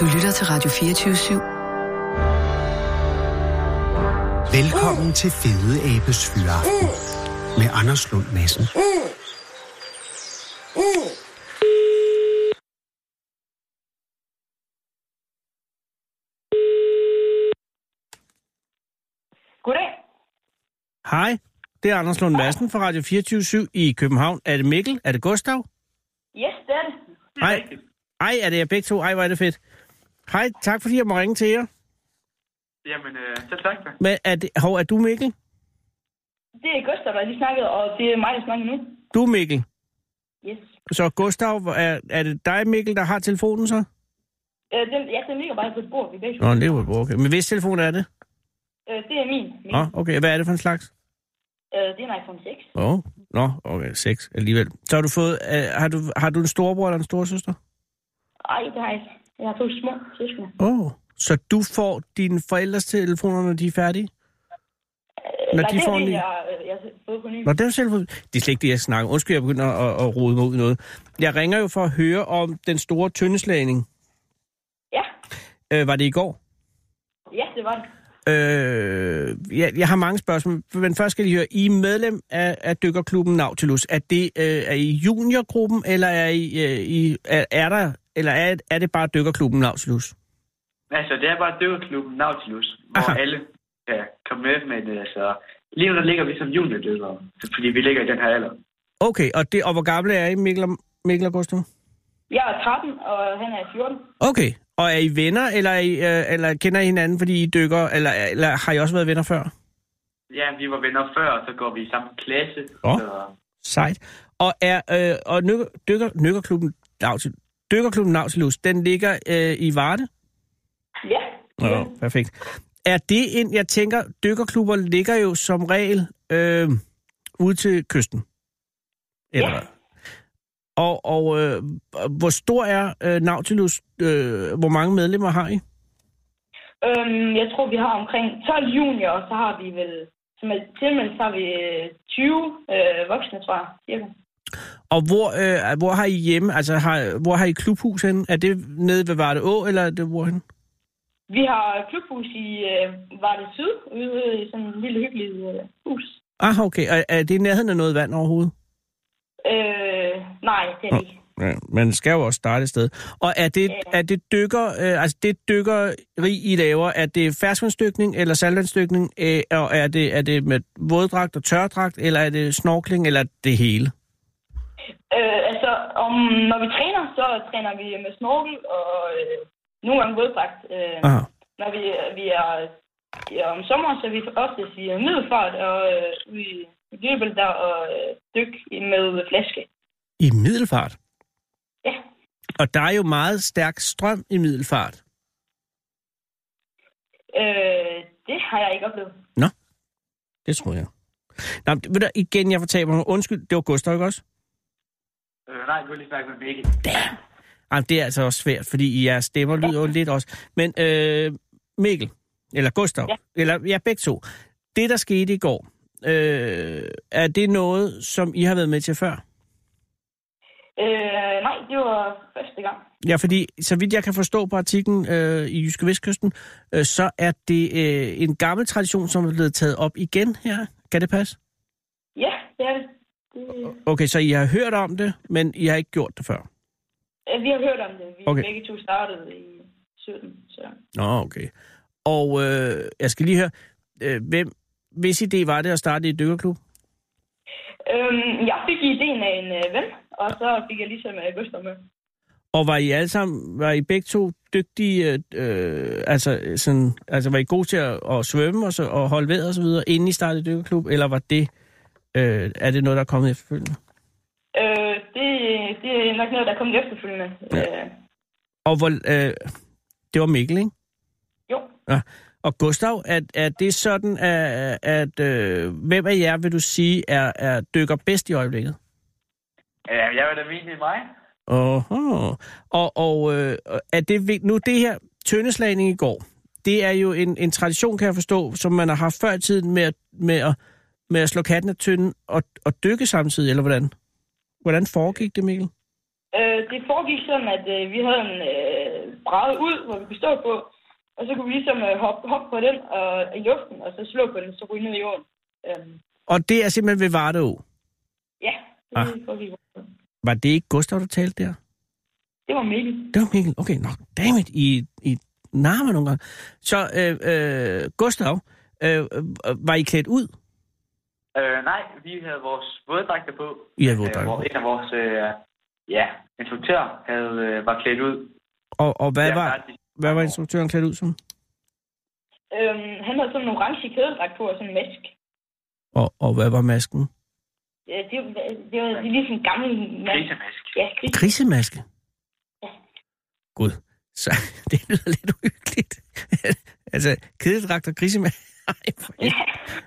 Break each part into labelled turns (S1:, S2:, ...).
S1: Du lytter til Radio 24 /7.
S2: Velkommen uh. til Fede Abes Fyraften med Anders Lund Madsen.
S3: Goddag.
S4: Hej, det er Anders Lund Madsen fra Radio 24 i København. Er det Mikkel? Er det Gustav?
S3: Yes, det er det.
S4: Nej. Ej, er det jer begge to? Ej, hvor er det fedt. Hej, tak fordi jeg må ringe til jer.
S5: Jamen, øh, selv tak da.
S4: Men er, det, hov, er du Mikkel?
S3: Det er Gustav, der lige snakkede, og det er mig, der snakker nu.
S4: Du er Mikkel.
S3: Yes.
S4: Så Gustav, hvor er, er det dig Mikkel, der har telefonen så?
S3: Øh, den, ja, den ligger bare på et bord, vi begge to.
S4: Nå, det var okay. Men hvis telefon er det?
S3: Øh, det er min. min.
S4: Nå, okay. Hvad er det for en slags?
S3: Øh, det er en iPhone 6.
S4: Åh, oh. nå, okay, seks alligevel. Så har du fået, øh, har, du, har du en storebror eller en storesøster?
S3: Ej, det har jeg ikke. Jeg har to små søskende.
S4: Åh, oh. så du får dine forældres telefoner, når de er færdige?
S3: Øh,
S4: Når
S3: nej,
S4: de
S3: det
S4: får
S3: er
S4: en
S3: min,
S4: ny-
S3: jeg, øh, jeg har fået på ny.
S4: Nå, det er jo selv... Det er slet ikke det, jeg snakker. Undskyld, jeg begynder at, at rode mig ud i noget. Jeg ringer jo for at høre om den store tyndeslagning.
S3: Ja,
S4: Øh, var det i går?
S3: ja, det var det.
S4: Øh, jeg, jeg har mange spørgsmål, men først skal jeg lige høre. I er medlem af, af dykkerklubben Nautilus. Er, det, øh, er I juniorgruppen, eller er, I, øh, I, er, er, der, eller er, er det bare dykkerklubben Nautilus?
S5: Altså, det er bare dykkerklubben Nautilus, hvor
S4: Aha.
S5: Aha. alle kan komme med, men altså, lige nu der ligger vi som juniordykkere, fordi vi ligger i den her alder.
S4: Okay, og, det, og hvor gamle er I, Mikkel og, Mikkel og Gustav?
S3: Jeg er 13, og han er 14.
S4: Okay, og er I venner, eller, er I, øh, eller kender I hinanden, fordi I dykker, eller, eller har I også været venner før?
S5: Ja, vi var venner før, og så går vi i samme klasse.
S4: Nå.
S5: Så,
S4: Sejt. Og er øh, og nykker, dykker, nykkerklubben Nautilus, dykkerklubben Nautilus, den ligger øh, i Varde?
S3: Ja,
S4: Ja, perfekt. Er det en, jeg tænker, dykkerklubber ligger jo som regel øh, ude til kysten? Eller
S3: Ja.
S4: hvad? Og, og øh, hvor stor er øh, Nautilus? Øh, hvor mange medlemmer har I?
S3: øhm, jeg tror, vi har omkring 12 junior, og så har vi vel... Som er tilmeldt, så har vi øh, 20 øh, voksne, tror jeg, cirka.
S4: Og hvor, øh, hvor har I hjemme? Altså, har, hvor har I klubhus henne? Er det nede ved Varde Å, eller er det hvorhen?
S3: Vi har klubhus i øh, Varde Syd, ude i sådan en lille hyggelig øh, hus.
S4: Ah, okay. Er, er det i nærheden af noget vand overhovedet?
S3: Øh, nej, det er det ikke.
S4: Ja, man skal jo også starte et sted. Og er det,
S3: Ja.
S4: er det dykker, øh, altså det dykkeri, I laver, er det ferskvandsdykning eller saltvandsdykning, øh, og er det, er det med våddragt og tørdragt, eller er det snorkling, eller det hele?
S3: Øh, altså, om, når vi træner, så træner vi med snorkel og øh, nogle gange våddragt. Øh,
S4: Aha.
S3: når vi, vi er ja, om sommeren, så er vi oftest i middelfart og øh, ude i Jøbel der og øh, dyk med flaske.
S4: I middelfart?
S3: Ja.
S4: Og der er jo meget stærk strøm i middelfart.
S3: Øh, det har jeg ikke oplevet.
S4: Det tror jeg. Nå, men ved du, igen, jeg fortaber mig. Undskyld, det var Gustav, ikke også?
S5: øh, nej, du lige snakke med Mikkel.
S4: Jamen, det er altså også svært, fordi jeres stemmer lyder jo lidt også. Men øh, Mikkel, eller Gustav, ja.
S3: Ja.
S4: eller ja, begge to. Det, der skete i går, øh, er det noget, som I har været med til før?
S3: Øh, nej, det var første gang.
S4: Ja, fordi så vidt jeg kan forstå på artiklen øh, i Jyske Vestkysten, øh, så er det øh, en gammel tradition, som er blevet taget op igen her. Kan det passe?
S3: Ja, det er det. det
S4: Okay, så I har hørt om det, men I har ikke gjort det før?
S3: øh, vi har hørt om det. Vi
S4: Okay.
S3: okay. begge to startede i 17, så...
S4: Nå, okay. Og øh, jeg skal lige høre, øh, hvem, hvis idé var det at starte i et dykkerklub?
S3: Øhm, jeg fik ideen af en øh, ven, og så fik jeg ligesom øh, Gustav med.
S4: Og var I alle sammen, var I begge to dygtige, øh, øh, altså, øh, sådan, altså var I gode til at, at svømme og, så, og holde vejret og så videre, inden I startede dykkerklub, eller var det, øh, er det noget, der er kommet efterfølgende?
S3: Øh, det, det er nok noget, der er kommet efterfølgende. Ja. Øh,
S4: Og hvor, øh, det var Mikkel, ikke?
S3: jo,
S4: Ja. Og Gustav, at, at det er sådan, at, at øh, hvem af jer vil du sige, er, er dykker bedst i øjeblikket?
S5: Ja, Øh, jeg vil da mene, det er mig.
S4: Oho. Og, og øh, er det, vigt- nu det her tøndeslagning i går, det er jo en, en tradition, kan jeg forstå, som man har haft før i tiden med at, med at, med at slå katten af tynden og, og dykke samtidig, eller hvordan? Hvordan foregik det, Mikkel?
S3: øh, det foregik sådan, at øh, vi havde en, øh, bræde ud, hvor vi kunne stå på. Og så kunne vi ligesom øh, hoppe, hoppe på den og, i luften, og så slå på den, så ryge ned i jorden. Øhm,
S4: Og det er simpelthen ved Vardeå.
S3: ja, det
S4: Ah.
S3: får vi.
S4: Var det ikke Gustav, der talte der?
S3: Det var Mikkel.
S4: Det var Mikkel. Okay, nå, dammit, I, I narmer nogle gange. Så øh, øh, Gustav, øh, øh, var I klædt ud?
S5: Øh, nej, vi havde vores våddragter på.
S4: I havde våddragter
S5: hvor
S4: på.
S5: En af vores øh, ja, instruktører havde, øh, var klædt ud.
S4: Og, og hvad,
S5: Ja,
S4: var,
S5: faktisk.
S4: hvad var instruktøren klædt ud som?
S3: Øhm, han havde sådan en orange kædedragt på og sådan en mask.
S4: Og, og hvad var masken?
S3: Ja, det, det var det er ligesom en gammel mand.
S5: Grisemask.
S3: Ja, krig.
S4: Grisemaske? Gud, så det lyder lidt uhyggeligt. altså, kededragt og grisemaske. Ej, for helvede.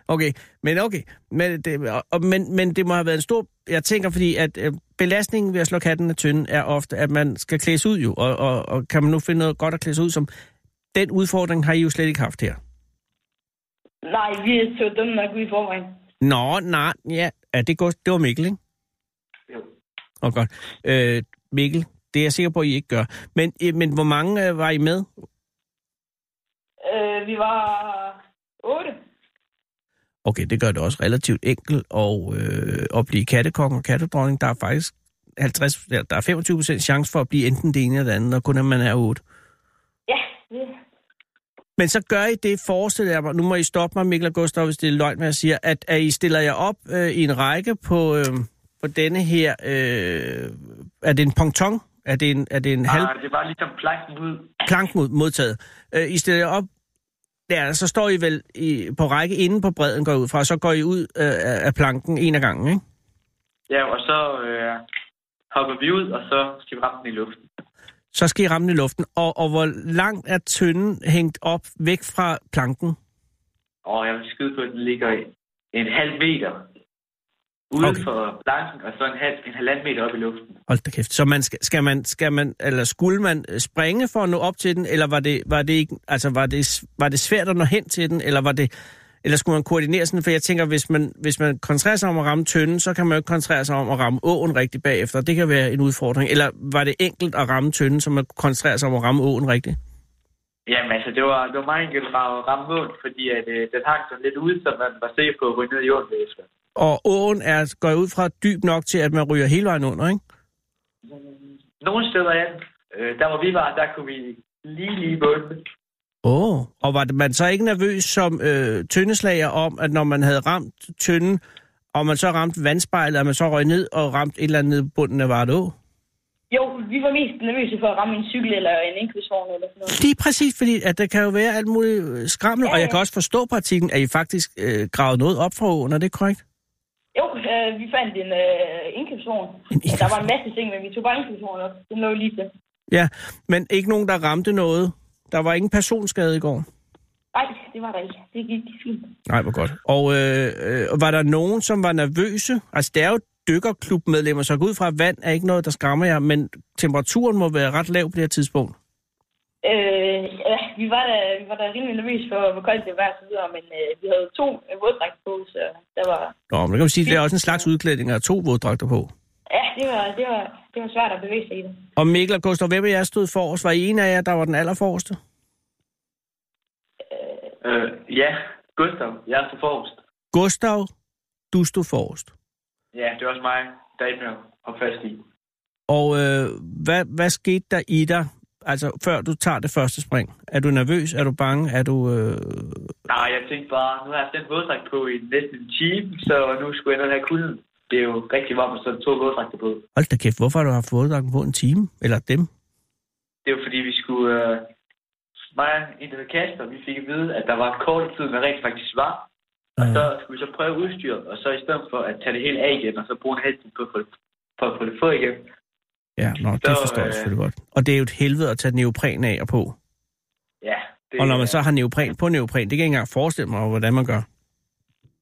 S4: okay, men okay. Men det, og- og, men, men det må have været en stor... Jeg tænker, fordi at øh, belastningen ved at slå katten af tynden er ofte, at man skal klædes ud jo. Og, og, og kan man nu finde noget godt at klædes ud som... Den udfordring har I jo slet ikke haft her.
S3: Nej, vi er så dumme nok ude i forvejen.
S4: Nå, nej, ja. ja det, går, det var Mikkel, ikke?
S5: Jo.
S4: Åh, godt. Øh, Mikkel, det er jeg sikker på, at I ikke gør. Men, øh, men hvor mange øh, var I med?
S3: Øh, vi var otte.
S4: Okay, det gør det også relativt enkelt at, øh, at blive kattekong og kattedronning. Der er faktisk 50, ja, der er 25 procent chance for at blive enten det ene eller det andet, og kun at man er 8.
S3: Ja, det,
S4: Men så gør I det, forestiller jeg mig, nu må I stoppe mig, Mikkel og Gustav, hvis det er løgn, hvad jeg siger, at, at I stiller jer op øh, i en række på, øh, på denne her, øh, er det en ponton? Er det en, er det en halv...
S5: Ah, det var ligesom planken ud.
S4: planken mod, modtaget. Øh, I stiller jer op der, så står I vel i, på række inde på bredden, går jeg ud fra, og så går I ud øh, af af planken en af gangen, ikke?
S5: Ja, og så øh, hopper vi ud, og så skal vi ramme den i luften.
S4: Så skal I ramme den i luften. Og, og hvor langt er tynden hængt op væk fra planken?
S5: Og jeg vil skyde på, at den ligger en halv meter uden
S4: Okay.
S5: okay. for planken, og så en, halv, en halvanden meter op i luften.
S4: Hold da kæft. Så man skal, skal, man, skal man, eller skulle man øh, springe for at nå op til den, eller var det, var det, ikke, altså var det, s- var det svært at nå hen til den, eller var det, eller skulle man koordinere sådan, for jeg tænker, hvis man, hvis man koncentrerer sig om at ramme tønden, så kan man jo ikke koncentrere sig om at ramme åen rigtigt bagefter. Det kan være en udfordring. Eller var det enkelt at ramme tønden, så man kunne koncentrere sig om at ramme åen rigtigt?
S5: Jamen altså, det var, det var meget enkelt at ramme mål, fordi at, øh, den hang sådan lidt ude, så man var sikker på at ryge ned i jorden bagefter.
S4: Og åen er, går jeg ud fra dyb nok til, at man ryger hele vejen under, ikke?
S5: Nogle steder, ja, øh, der hvor vi var, der kunne vi lige lige bunde.
S4: Åh, oh. og var det- man så ikke nervøs som øh, tyndeslager om, at når man havde ramt tynden, og man så ramte vandspejlet, at man så røg ned og ramte et eller andet nede på bunden af Varde Å?
S3: jo, vi var mest nervøse for at ramme en cykel eller en indkøbsvogn eller sådan noget.
S4: Lige præcis, fordi at der kan jo være alt muligt øh, skrammel, ja,
S3: Ja,
S4: og jeg
S3: ja.
S4: kan også forstå på artiklen, at I faktisk øh, gravede noget op fra åen, er det korrekt?
S3: Jo, øh, vi fandt en øh, indkøbsvogn. Og der var en masse ting, men vi tog bare indkøbsvognen op. Den lå lige til.
S4: Ja, men ikke nogen, der ramte noget. Der var ingen personskade i går.
S3: Nej, det var der ikke. Det gik fint.
S4: Nej, hvor godt. Og øh, øh, var der nogen, som var nervøse? Altså, det er jo dykkerklubmedlemmer, så jeg går ud fra, at vand er ikke noget, der skræmmer jer, men temperaturen må være ret lav på det her tidspunkt.
S3: Øh, ja, vi var da, vi var da rimelig nervøse for, hvor koldt det var og så videre, men øh, vi havde to øh, våddragt på, så der var...
S4: Nå, men det kan man sige, det er også en slags udklædning at have to våddragter på.
S3: Ja, det var, det var, det var svært at bevæge sig i det.
S4: Og Mikkel og Gustav, hvem af jer stod forrest? Var I en af jer, der var den allerforreste?
S5: Øh, ja, Gustav, jeg er så forrest.
S4: Gustav, du stod forrest.
S5: Ja, det var også mig, der ikke blev holdt fast i.
S4: Og øh, hvad, hvad skete der i dig, altså før du tager det første spring? Er du nervøs? Er du bange? Er du... Øh...
S5: Nej, jeg tænkte bare, nu har jeg haft den våddragt på i næsten en time, så nu skulle jeg ned og have kulden. Det er jo rigtig varmt, så to våddragter på.
S4: Hold da kæft, hvorfor har du haft våddragten på en time? Eller dem?
S5: Det var fordi, vi skulle... Øh, mig og en, der hed Kasper, vi fik at vide, at der var kort tid, man rent faktisk var. Og så skulle vi så prøve udstyret, og så i stedet for at tage det hele af igen, og så bruge en halv time på at få det, for at få det på igen.
S4: Ja, nå, det
S5: så,
S4: forstår jeg
S5: øh,
S4: selvfølgelig godt. Og det er jo et helvede at tage neopren af og på.
S5: Ja, det,
S4: Og når man så har neopren på neopren, det kan jeg ikke engang forestille mig, hvordan man gør.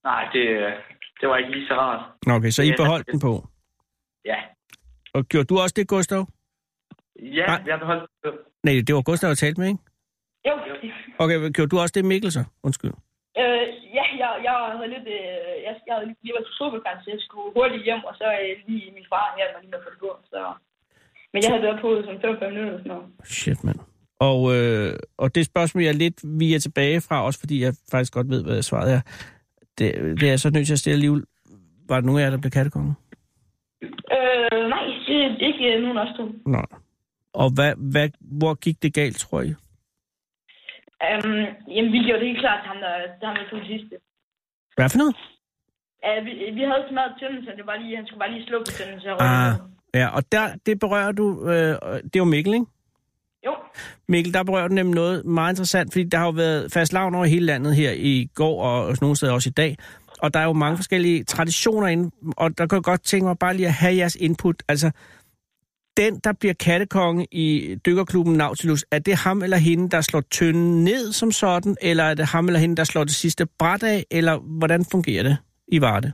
S5: Nej, det, øh, det var ikke lige så rart.
S4: Nå, okay, så I
S5: Ja.
S4: beholdt den på.
S5: Ja,
S4: Og gjorde du også det, Gustav?
S5: ja
S4: Nej.
S5: Nej. jeg beholdt det. på.
S4: Nej, det var Gustav, jeg talte med, ikke?
S3: Jo,
S4: Okay, men gjorde du også det, Mikkel, så? Undskyld.
S3: Øh, ja, jeg, jeg havde lidt, øh, jeg, jeg havde lige været superkant, så jeg skulle hurtigt hjem, og så øh, lige min far her, man lige havde fået det gå, så... Men jeg havde været på som 5-5 minutter eller sådan noget.
S4: Shit, mand. Og, øh, og det spørgsmål, jeg lidt viger tilbage fra, også fordi jeg faktisk godt ved, hvad svaret er, det, det er jeg så nødt til at stille alligevel. Var der nogen af jer, der blev kattekonge?
S3: Øh, nej, det- ikke øh, nogen af os to.
S4: Nej. Og hvad, hvad, hvor gik det galt, tror jeg?
S3: Øhm, jamen, vi gjorde det helt klart til ham, der, til ham, der tog det sidste.
S4: Hvad for noget?
S3: Uh, vi, vi havde smadret tynden, så det var lige, han skulle bare lige slå på tynden, så jeg
S4: Ah,
S3: ah.
S4: ja, og der, det berører du, øh, det er jo Mikkel, ikke?
S3: Jo,
S4: Mikkel, der berører du nemlig noget meget interessant, fordi der har jo været fast lavn over hele landet her i går og nogle steder også i dag. Og der er jo mange forskellige traditioner inde, og der kan jeg godt tænke mig bare lige at have jeres input. Altså, den, der bliver kattekonge i dykkerklubben Nautilus, er det ham eller hende, der slår tynden ned som sådan, eller er det ham eller hende, der slår det sidste bræt af, eller hvordan fungerer det i Varde?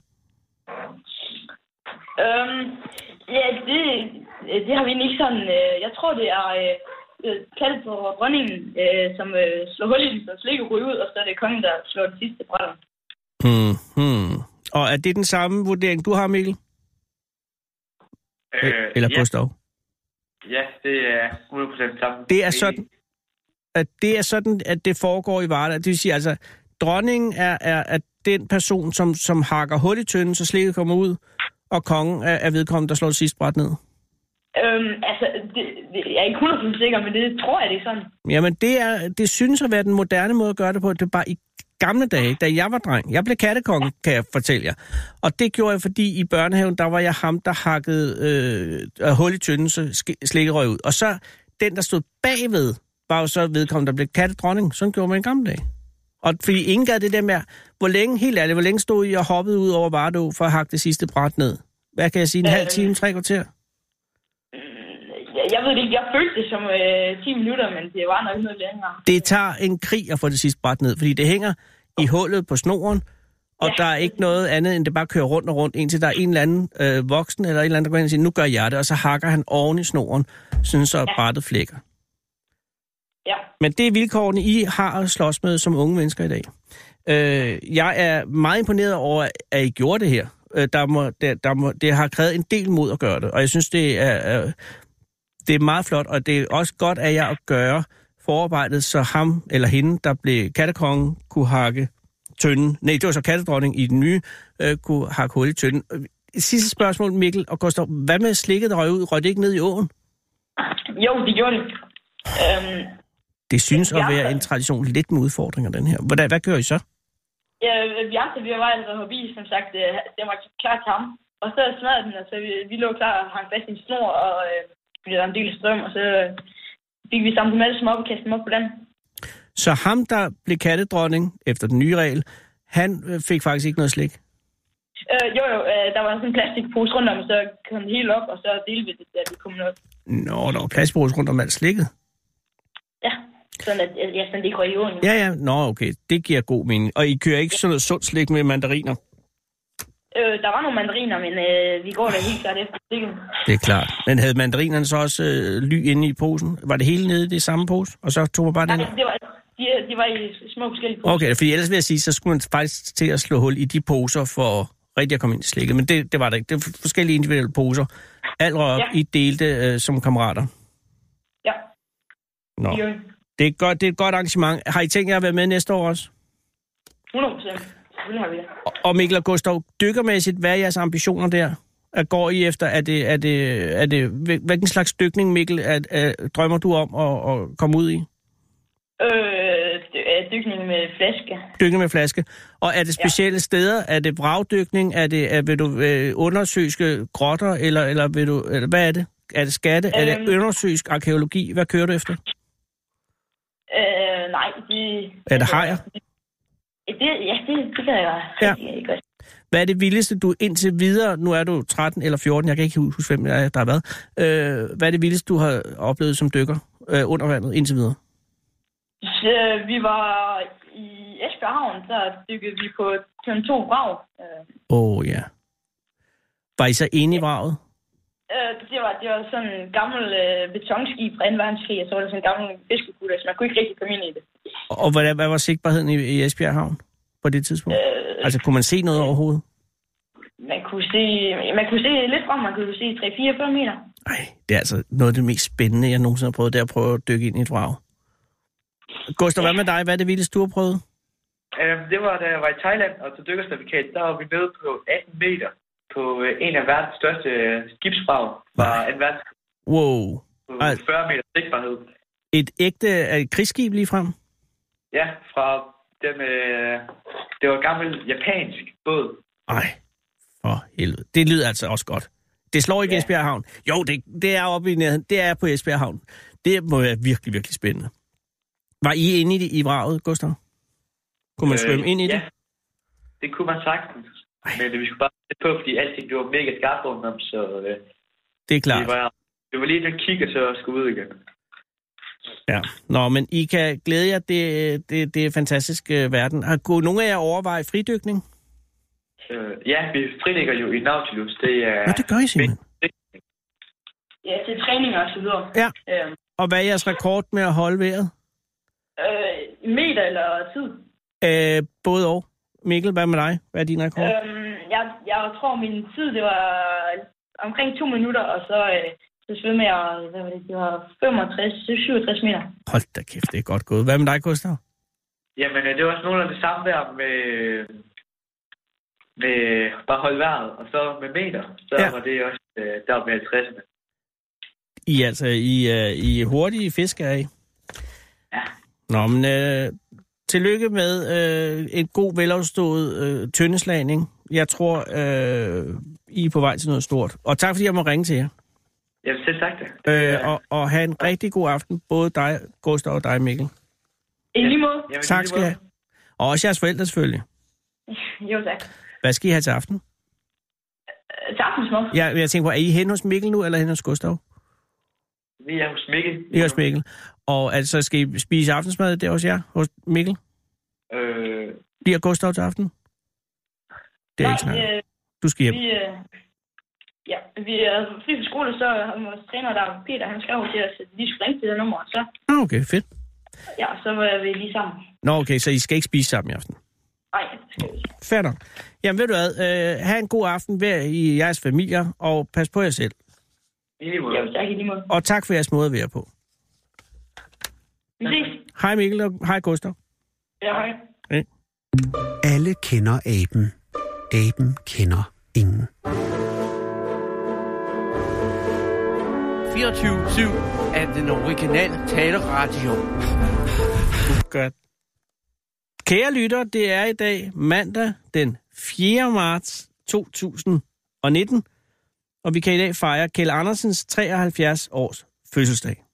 S3: øhm, ja, det, øh, det har vi egentlig ikke sådan... Øh, jeg tror, det er øh, øh, kaldet på dronningen, øh, som øh, slår hul i den, så slikket ryger ud, og så er det kongen, der slår det sidste brænder.
S4: Hmm, hmm. Og er det den samme vurdering, du har, Mikkel? Øh, eller
S5: ja,
S4: Gustav?
S5: ja, det er 100% sammen.
S4: Det er sådan- at det er sådan, at det foregår i Varda. Det vil sige, altså, dronningen er, er, er den person, som, som hakker hul i tynden, så slikket kommer ud, og kongen er, er vedkommende, der slår det sidste bræt ned.
S3: Øhm, altså, det, det, jeg er ikke 100% sikker, men det tror jeg, det er sådan.
S4: Jamen, det, er, det synes at være den moderne måde at gøre det på. Det var bare i gamle dage, da jeg var dreng. Jeg blev kattekonge, kan jeg fortælle jer. Og det gjorde jeg, fordi i børnehaven, der var jeg ham, der hakkede øh, hul i tynden, så sk- slikket røg ud. Og så den, der stod bagved, var jo så vedkommende, der blev kattedronning. Sådan gjorde man i gamle dage. Og fordi ingen gad det der med, hvor længe, helt ærligt, hvor længe stod I og hoppede ud over Vardå for at hakke det sidste bræt ned? Hvad kan jeg sige, en halv time, tre kvarter?
S3: Jeg, jeg ved det ikke, jeg følte det som øh, 10 minutter, men det var nok noget længere.
S4: det tager en krig at få det sidste bræt ned, fordi det hænger i hullet på snoren, og ja.
S3: Ja.
S4: der er ikke noget andet, end det bare kører rundt og rundt, indtil der er en eller anden øh, voksen, eller en eller anden, der går ind og siger, nu gør jeg det, og så hakker han oven i snoren, sådan så brættet flækker.
S3: Ja.
S4: Men det er vilkårene, I har at slås med som unge mennesker i dag. Øh, jeg er meget imponeret over, at I gjorde det her. Øh, der må, der, der må, det har krævet en del mod at gøre det, og jeg synes, det er, er, det er meget flot, og det er også godt af jer at gøre forarbejdet, så ham eller hende, der blev kattekongen, kunne hakke tynden. Nej, det var så kattedronning i den nye, øh, kunne hakke hul i tynden. Øh, Sidste spørgsmål, Mikkel og Gustav. Hvad med slikket, der røg ud? Røg det ikke ned i åen?
S3: Jo, det gjorde det. Øhm,
S4: Det synes at
S3: Ja.
S4: være en tradition lidt med udfordringer, den her. Hvordan, hvad gør I så?
S3: ja, Bjarte, vi var altså forbi, som sagt, øh, den var klar til ham. Og så smadrede den, og så vi, vi lå klar og hang fast i en snor, og øh, blev der en del strøm, og så øh, fik vi samlet dem alle sammen op og kastet dem op på den.
S4: Så ham, der blev kattedronning efter den nye regel, han øh, fik faktisk ikke noget slik.
S3: Øh, jo, jo, øh, der var sådan en plastikpose rundt om, så kom det hele op, og så delte vi det, da vi kom op.
S4: Nå, der var plastbrus rundt om alt slikket.
S3: Ja, sådan at jeg sådan det ikke røg i åen.
S4: Ja, ja, nå, okay, det giver god mening. Og I kører ikke sådan noget sundt slik med mandariner?
S3: Øh, der var nogle mandariner, men øh, vi går da helt klart efter stikken.
S4: Det er klart. Men havde mandarinerne så også øh, ly inde i posen? Var det hele nede i det samme pose? Og så tog man bare den?
S3: Nej, det var, de, de var i små forskellige poser.
S4: Okay, for ellers vil jeg sige, så skulle man faktisk til at slå hul i de poser for rigtig at komme ind i slikket. Men det, det var det ikke. Det var forskellige individuelle poser. Alt røg op,
S3: Ja.
S4: I delte øh, som kammerater.
S3: Ja,
S4: Nå.
S3: de,
S4: Det er, et godt, det er et godt arrangement. Har I tænkt jer at være med næste år også?
S3: 100 procent. Selvfølgelig har vi det.
S4: Og- Og Mikkel og Gustav, dykkermæssigt, hvad er jeres ambitioner der? At går I efter? Er det, er det, er det, hvil- hvilken slags dykning, Mikkel, at, at, drømmer du om at, at komme ud i?
S3: Øh, dy- øh, dykning med flaske.
S4: Dykning med flaske. Og er det specielle ja. steder? Er det vragdykning? Er det, er, vil du øh, undersøge grotter? Eller, eller vil du, eller hvad er det? Er det skatte? Øhm. Er det
S3: Øhm.
S4: undersøgsk arkeologi? Hvad kører du efter?
S3: Øh, nej, de...
S4: Er det hajer?
S3: Det, ja, det, det kan jeg
S4: Ja.
S3: rigtig godt.
S4: Hvad er det vildeste, du indtil videre, nu er du 13 eller 14, jeg kan ikke huske, hvem der er- der har været, øh, hvad er det vildeste, du har oplevet som dykker øh, under vandet indtil videre?
S3: Så, øh, vi var i Esbjerg Havn, der dykkede vi på sådan to brav. Øh,
S4: Åh, oh, ja. Var I så inde i vraget?
S3: øh, det, var, det var sådan en gammel øh, betonskib fra 2. verdenskrig, og så var der sådan en gammel fiskekutter, så man kunne ikke rigtig komme ind i det.
S4: Og hvordan, hvad var sigtbarheden i, i Esbjerg Havn på det tidspunkt?
S3: Øh,
S4: Altså, kunne man se noget overhovedet?
S3: man, kunne se, man kunne se lidt frem, man kunne se 3-4 meter.
S4: Nej, det er altså noget af det mest spændende, jeg nogensinde har prøvet, det er at prøve at dykke ind i et vrag. Gustav, hvad med dig? Hvad er det vildeste, du har prøvet?
S5: Øhm, det var, da jeg var i Thailand og til dykkercertifikat, der var vi nede på 18 meter på øh, en af verdens største øh, skibsbrag. Var en verdens
S4: Wow.
S5: på
S4: Ej.
S5: 40 meter sigtbarhed.
S4: Et ægte øh, krigsskib lige frem.
S5: Ja, fra den, øh, det var en gammel japansk båd.
S4: Ej, for helvede. Det lyder altså også godt. Det slår ikke ja.
S5: Ja.
S4: Esbjerg Havn. Jo, det, det er oppe i nærheden. Det er på Esbjerg Havn. Det må være virkelig, virkelig spændende. Var I inde i, det, i vraget, Gustav? Kunne man øh, svømme ind i
S5: ja.
S4: det?
S5: det kunne man sagtens.
S4: Ej.
S5: Men øh, vi skulle bare passe på, fordi alting det var mega skarpt rundt om, så øh,
S4: Det er
S5: det,
S4: klart.
S5: var, det var lige et kig, og så skulle ud igen.
S4: Ja. Nå, men I kan glæde jer. Det, det, det er fantastisk øh, verden. Har kunne nogle af jer overveje fridykning?
S5: Øh, ja, vi frilægger jo i Nautilus. Det er...
S4: Ja. Nå, det gør I simpelthen.
S3: Ja, til træninger og så videre.
S4: Ja.
S3: Øhm,
S4: Og hvad er jeres rekord med at holde vejret?
S3: øh, meter eller tid.
S4: Øh, både og. Mikkel, hvad med dig? Hvad er din rekord? Øh.
S3: Øhm, jeg, jeg tror, min tid det var omkring to minutter, og så, øh, så svømmede jeg, hvad var det, det var 65, 67 meter.
S4: Hold da kæft, det er godt gået. Hvad med dig, Gustav?
S5: Jamen, øh, det var også nogle af det samme der med, med bare holde vejret, og så med meter. Så
S4: Ja.
S5: ja. var det også øh, der med 50'erne.
S4: I er altså i, uh, i er hurtige fisk, er I?
S5: Ja.
S4: Nå, men uh, tillykke med uh, en god, velafstået uh, tyndeslagning. Jeg tror, uh, I er på vej til noget stort. Og tak, fordi jeg må ringe til jer.
S5: Jamen, selv tak det.
S4: Øh, og, og have en rigtig god aften, både dig, Gustav og dig, Mikkel.
S3: I lige måde.
S5: Jamen,
S4: tak
S5: lige
S4: skal I have.
S5: måde.
S4: Og også jeres forældre, selvfølgelig.
S3: Jo, tak.
S4: Hvad skal I have til aften?
S3: Øh, Tak, Smuk.
S4: Jeg, jeg tænker på, er I hen hos Mikkel nu, eller hen hos Gustav?
S5: Vi er hos Mikkel.
S4: I er hos Mikkel. Og altså, skal I spise aftensmad, det er hos jer, hos Mikkel?
S5: Øh,
S4: Bliver Gustav til aften? Det er ikke snart.
S3: øh,
S4: Du skal hjem.
S3: vi, øh, ja, vi er fri fra skole, så har vores træner, der Peter, han skrev til os, at vi skulle ringe til det nummer, og så,
S4: Nå, Ah, okay, fedt.
S3: ja, så var vi lige sammen.
S4: Nå, okay, så I skal ikke spise sammen i aften.
S3: Nej, skal vi.
S4: Fair nok. Jamen, ved du hvad, øh, have en god aften hver i jeres familier, og pas på jer selv.
S5: i lige måde.
S3: Jo, tak i lige måde.
S4: Og tak for jeres måde at være på.
S3: Vi ses.
S4: Hej Mikkel, og hej Gustav.
S3: Ja, hej.
S2: Alle kender aben. Aben kender ingen.
S6: 24-7 af den originale taleradio.
S4: Godt. Kære lytter, det er i dag mandag den 4. marts 2019, og vi kan i dag fejre Kjeld Andersens 73 års fødselsdag.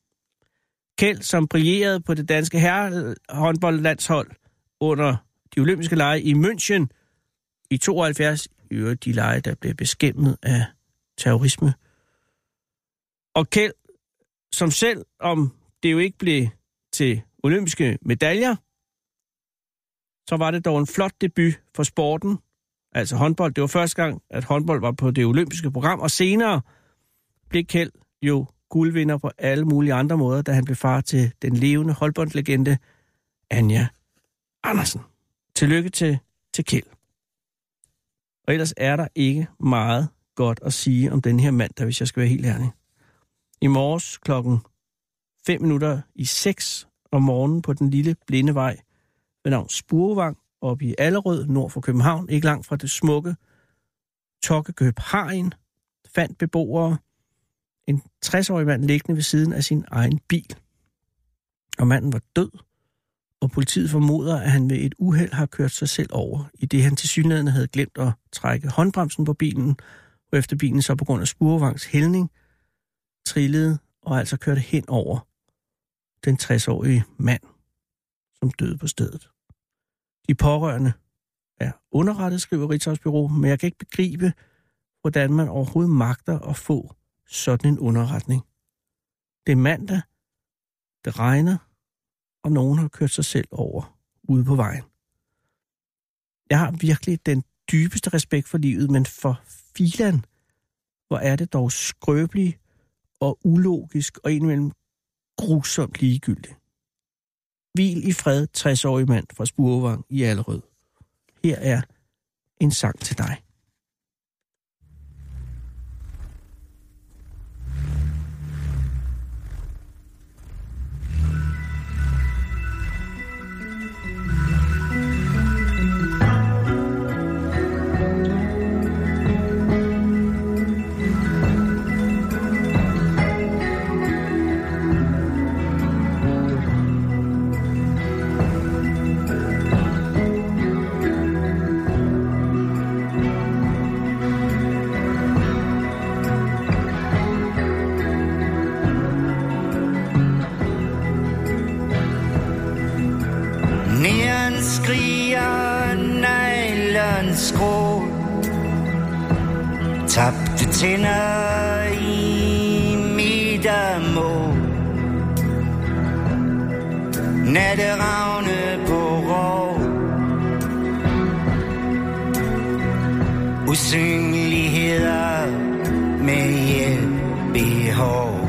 S4: Kjeld, som brillerede på det danske herrehåndboldlandshold under de olympiske lege i München i 72, i øvrigt de lege, der blev beskæmmet af terrorisme. Og Kjeld, som selv om det jo ikke blev til olympiske medaljer, så var det dog en flot debut for sporten, altså håndbold. Det var første gang, at håndbold var på det olympiske program, og senere blev Kjeld jo guldvinder på alle mulige andre måder, da han blev far til den levende håndboldlegende Anja Andersen. Tillykke til, til Kjeld. Og ellers er der ikke meget godt at sige om den her mandag, hvis jeg skal være helt ærlig. I morges klokken 5 minutter i 6 om morgenen på den lille blinde vej ved navn Spurvang oppe i Allerød, nord for København, ikke langt fra det smukke Tokkekøb Hagen, fandt beboere en 60-årig mand liggende ved siden af sin egen bil. Og manden var død, og politiet formoder, at han ved et uheld har kørt sig selv over, i det han til synligheden havde glemt at trække håndbremsen på bilen, og efter bilen så på grund af Spurvangs hældning trillede og altså kørte hen over den 60-årige mand, som døde på stedet. De pårørende er underrettet, skriver Ritzhavsbyrå, men jeg kan ikke begribe, hvordan man overhovedet magter at få sådan en underretning. Det er mandag, det regner, og nogen har kørt sig selv over ude på vejen. Jeg har virkelig den dybeste respekt for livet, men for filan, hvor er det dog skrøbeligt og ulogisk og indimellem grusomt ligegyldig. Hvil i fred, 60-årig mand fra Spurvang i Allerød. Her er en sang til dig.
S7: skriger neglens skrå Tabte tænder i midtermål Natteravne på rov Usynligheder med hjælpebehov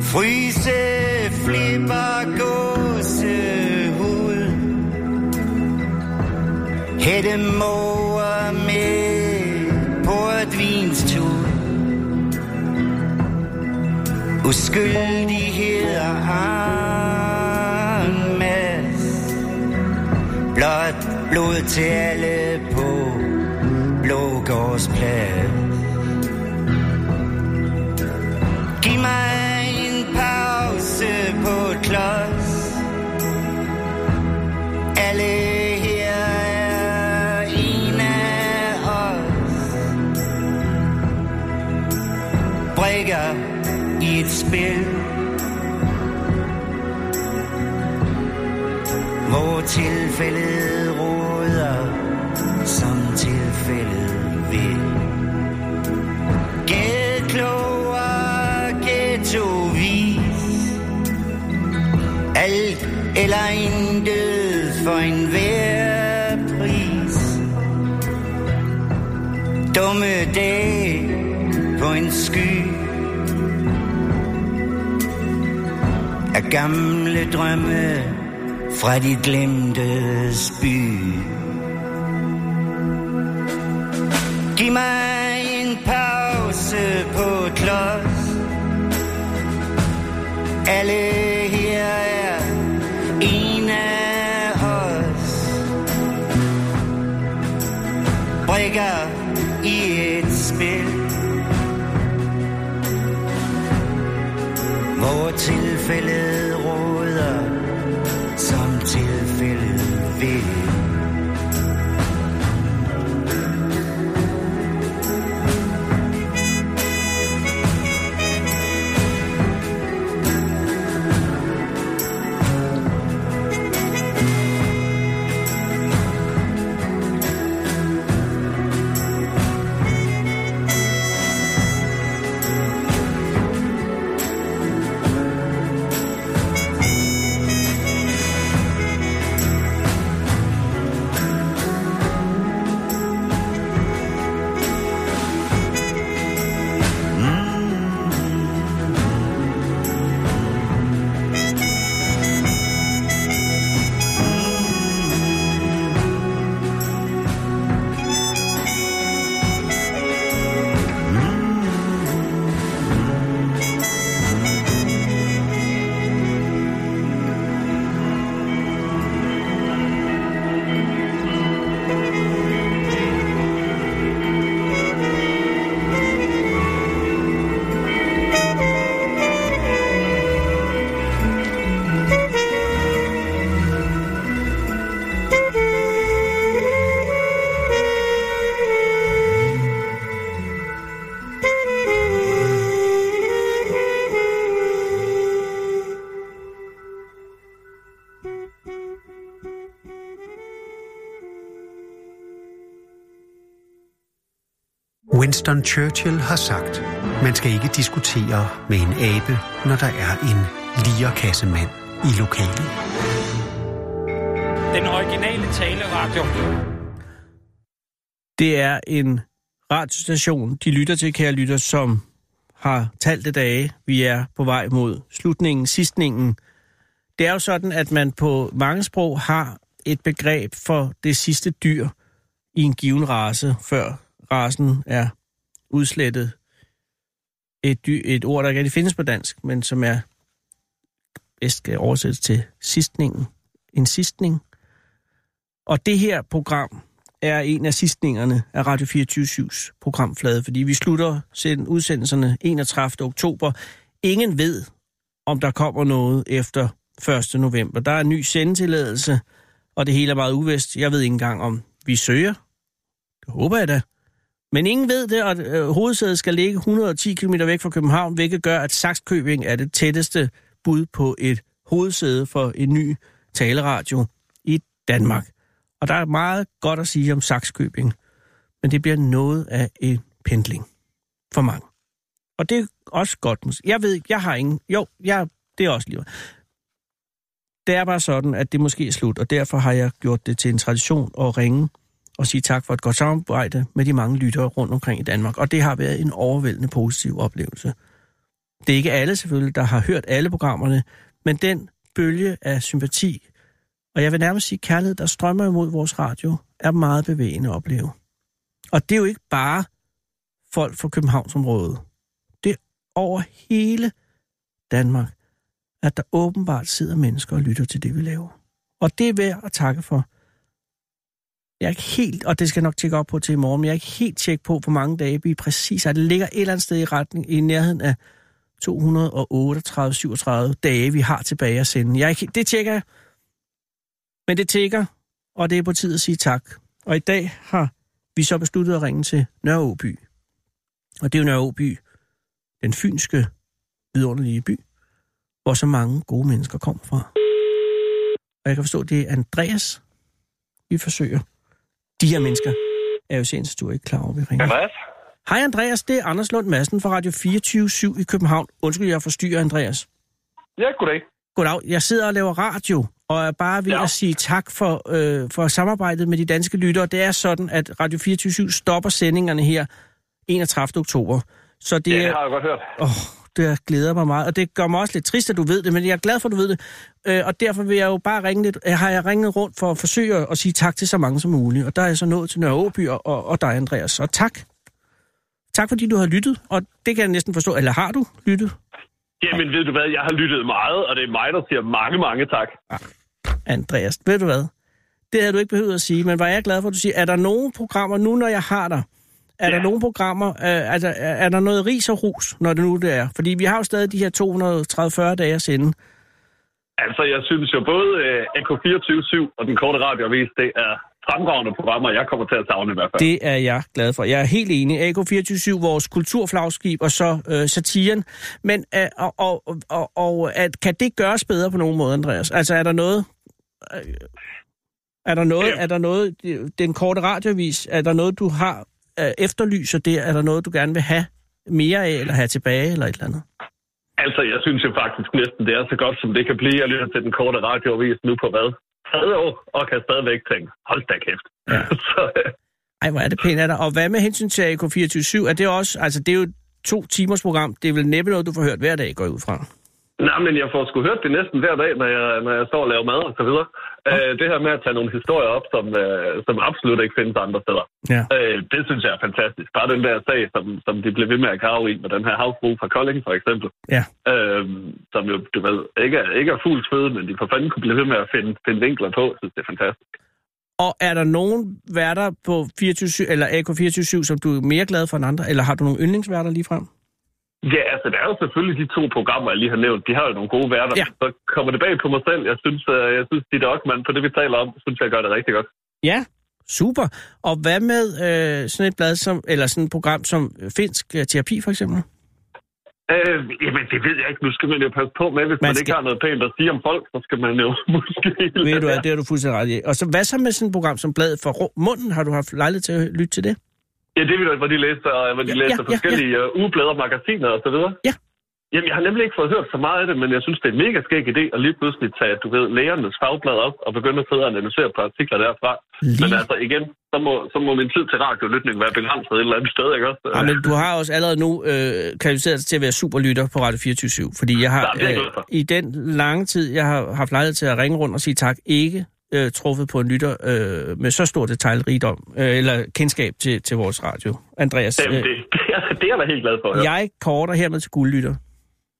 S7: Fryse flipper gåsehud Hætte måger med portvinstud Uskyldigheder armes Blot blod til alle på Blågårdsplads Giv mig en pause på klods Alle her er en af os Brikker i et spil Hvor tilfældet råder Som tilfældet vil Gæt klogere, ghettovis Alt eller intet for enhver pris Dumme dag på en sky Af gamle drømme fra de glemtes by Giv mig en pause på klods Alle her er en af os Brikker i et spil Hvor tilfældet råder Som tilfældet vil
S2: Winston Churchill har sagt, man skal ikke diskutere med en abe, når der er en lierkassemand i lokalet.
S8: Den originale taleradio.
S4: Det er en radiostation, de lytter til, kære lytter, som har talte dage. Vi er på vej mod slutningen, sidstningen. Det er jo sådan, at man på mange sprog har et begreb for det sidste dyr i en given race, før rasen er udslettet. Et, dy, et ord, der ikke rigtig findes på dansk, men som er bedst skal oversættes til sidstningen. En sidstning. Og det her program er en af sidstningerne af Radio 24-7's programflade, fordi vi slutter send- udsendelserne 31. oktober. Ingen ved, om der kommer noget efter 1. november. Der er en ny sendetilladelse, og det hele er meget uvist. Jeg ved ikke engang, om vi søger. Det håber jeg da. Men ingen ved det, og øh, hovedsædet skal ligge 110 km væk fra København, hvilket gør, at Saxkøbing er det tætteste bud på et hovedsæde for en ny taleradio i Danmark. Og der er meget godt at sige om Saxkøbing, men det bliver noget af en pendling for mange. Og det er også godt. mås- Jeg ved ikke, jeg har ingen... Jo, jeg, det er også lige... Det er bare sådan, at det måske er slut, og derfor har jeg gjort det til en tradition at ringe og sige tak for et godt samarbejde med de mange lyttere rundt omkring i Danmark. Og det har været en overvældende positiv oplevelse. Det er ikke alle selvfølgelig, der har hørt alle programmerne, men den bølge af sympati, og jeg vil nærmest sige kærlighed, der strømmer imod vores radio, er meget bevægende at opleve. Og det er jo ikke bare folk fra Københavnsområdet. Det er over hele Danmark, at der åbenbart sidder mennesker og lytter til det, vi laver. Og det er værd at takke for. Jeg er ikke helt, og det skal jeg nok tjekke op på til i morgen, men jeg er ikke helt tjek på, hvor mange dage vi præcis er. Det ligger et eller andet sted i retning, i nærheden af 238-37 dage, vi har tilbage at sende. Jeg er ikke, helt- det tjekker jeg. Men det tækker, og det er på tid at sige tak. Og i dag har vi så besluttet at ringe til Nørreåby. Og det er jo Nørreåby, den fynske, vidunderlige by, hvor så mange gode mennesker kommer fra. Og jeg kan forstå, det er Andreas, vi forsøger. De her mennesker er jo senest, du er ikke klar over, at vi ringer.
S9: Andreas?
S4: Hej Andreas, det er Anders Lund Madsen fra Radio 24 i København. Undskyld, jeg forstyrrer Andreas.
S9: Ja, goddag.
S4: Goddag, jeg sidder og laver radio, og er bare ved ja.
S9: Ja.
S4: at sige tak for, øh, for samarbejdet med de danske lyttere. Det er sådan, at Radio 24 stopper sendingerne her 31. oktober. Så det,
S9: Ja, det
S4: er-
S9: har jeg godt hørt.
S4: Åh, oh, det glæder mig meget, og det gør mig også lidt trist, at du ved det, men jeg er glad for, at du ved det. Øh, og derfor vil jeg jo bare ringe lidt, øh, har jeg ringet rundt for at forsøge at- at sige tak til så mange som muligt, og der er jeg så nået til Nørre Åby og, og, og dig, Andreas, og tak. Tak fordi du har lyttet, og det kan jeg næsten forstå, eller har du lyttet?
S9: Jamen, ved du hvad, jeg har lyttet meget, og det er mig, der siger mange, mange tak.
S4: Andreas, ved du hvad? Det havde du ikke behøvet at sige, men var jeg glad for, at du siger, er der nogle programmer, nu når jeg har dig, er ja. der
S9: Ja.
S4: nogle programmer, øh, altså, er, er der noget ris og rus, når det nu det er? Fordi vi har jo stadig de her 230-40 dage at sende.
S9: Altså, jeg synes jo både øh, AK247 og den korte radioavis, det er fremragende programmer, jeg kommer til at savne i hvert fald. Det...
S4: Det er jeg glad for. Jeg er helt enig. AK247, vores kulturflagskib, og så øh, satiren. Men øh, og, og, og, og, at, kan det gøres bedre på nogen måde, Andreas? Altså, er der noget... øh, Er der noget,
S9: Øh.
S4: er der noget, den korte radiovis, er der noget, du har øh, efterlyser der? Er der noget, du gerne vil have mere af, eller have tilbage, eller et eller andet?
S9: Altså, jeg synes jo faktisk næsten, det er så godt, som det kan blive. Jeg lytter til den korte radioavis nu på hvad? Tredje år, og kan stadigvæk tænke, hold da kæft. Ja. så, øh,
S4: Ej, hvor er det pænt af dig. Og hvad med hensyn til AK247? Er det også, altså det er jo et to timers program. Det er vel næppe noget, du får hørt hver dag, går jeg ud fra.
S9: Nej, men jeg får sgu hørt det næsten hver dag, når jeg, når jeg står og laver mad og så videre. Øh, det her med at tage nogle historier op, som, øh, som absolut ikke findes andre steder.
S4: Ja.
S9: Øh, det synes jeg er fantastisk. Bare den der sag, som, som de blev ved med at grave i, med den her havfru fra Kolding for eksempel.
S4: Ja.
S9: Øh, som jo, du ved, ikke er, ikke er fuldt fede, men de for fanden kunne blive ved med at finde, finde vinkler på. Jeg synes, det er fantastisk.
S4: Og er der nogen værter på 24 eller AK247, som du er mere glad for end andre? Eller har du nogle yndlingsværter lige frem?
S9: Ja, altså, der er jo selvfølgelig de to programmer, jeg lige har nævnt. De har jo nogle gode værter.
S4: Ja.
S9: Så kommer det bag på mig selv. Jeg synes, øh, jeg synes, de der Ockmann, på det vi taler om, synes jeg gør det rigtig godt.
S4: Ja, super. Og hvad med øh, sådan et blad som, eller sådan et program som øh, Finsk øh, Terapi for eksempel?
S9: Øh, jamen, det ved jeg ikke. Nu skal man jo passe på med, hvis man,
S4: Man
S9: man
S4: skal-
S9: ikke har noget pænt at sige om folk, så skal man jo måske...
S4: Ved
S9: lade
S4: du, at
S9: være.
S4: det har du fuldstændig ret i. Og så hvad så med sådan et program som Bladet for Rå- Munden? Har du haft lejlighed til at hø- lytte til det?
S9: Ja, det ved jeg, hvor de læser, øh, hvor de
S4: Ja,
S9: ja, læser
S4: ja, ja,
S9: ja, forskellige ja. ugeblader, magasiner og så videre.
S4: Ja.
S9: Jamen, jeg har nemlig ikke fået hørt så meget af det, men jeg synes, det er en mega skæg idé at lige pludselig tage, du ved, lægernes fagblad op og begynde at sidde og analysere på artikler derfra. Men
S4: Lige.
S9: altså, igen, så må, så må min tid til radiolytning være begrænset et eller andet sted, ikke også? Øh,
S4: Ja, men du har også allerede nu øh, kvalificeret dig til at være superlytter på Radio 24 fordi jeg har
S9: Nej, det er jeg glad
S4: øh,
S9: for.
S4: i den lange tid, jeg har haft lejlighed til at ringe rundt og sige tak, ikke øh, truffet på en lytter øh, med så stor detaljrigdom, øh, eller kendskab til, til vores radio. Andreas, øh,
S9: Jamen, det, det, er, det er jeg da helt glad for. Ja.
S4: jeg korter hermed til guldlytter.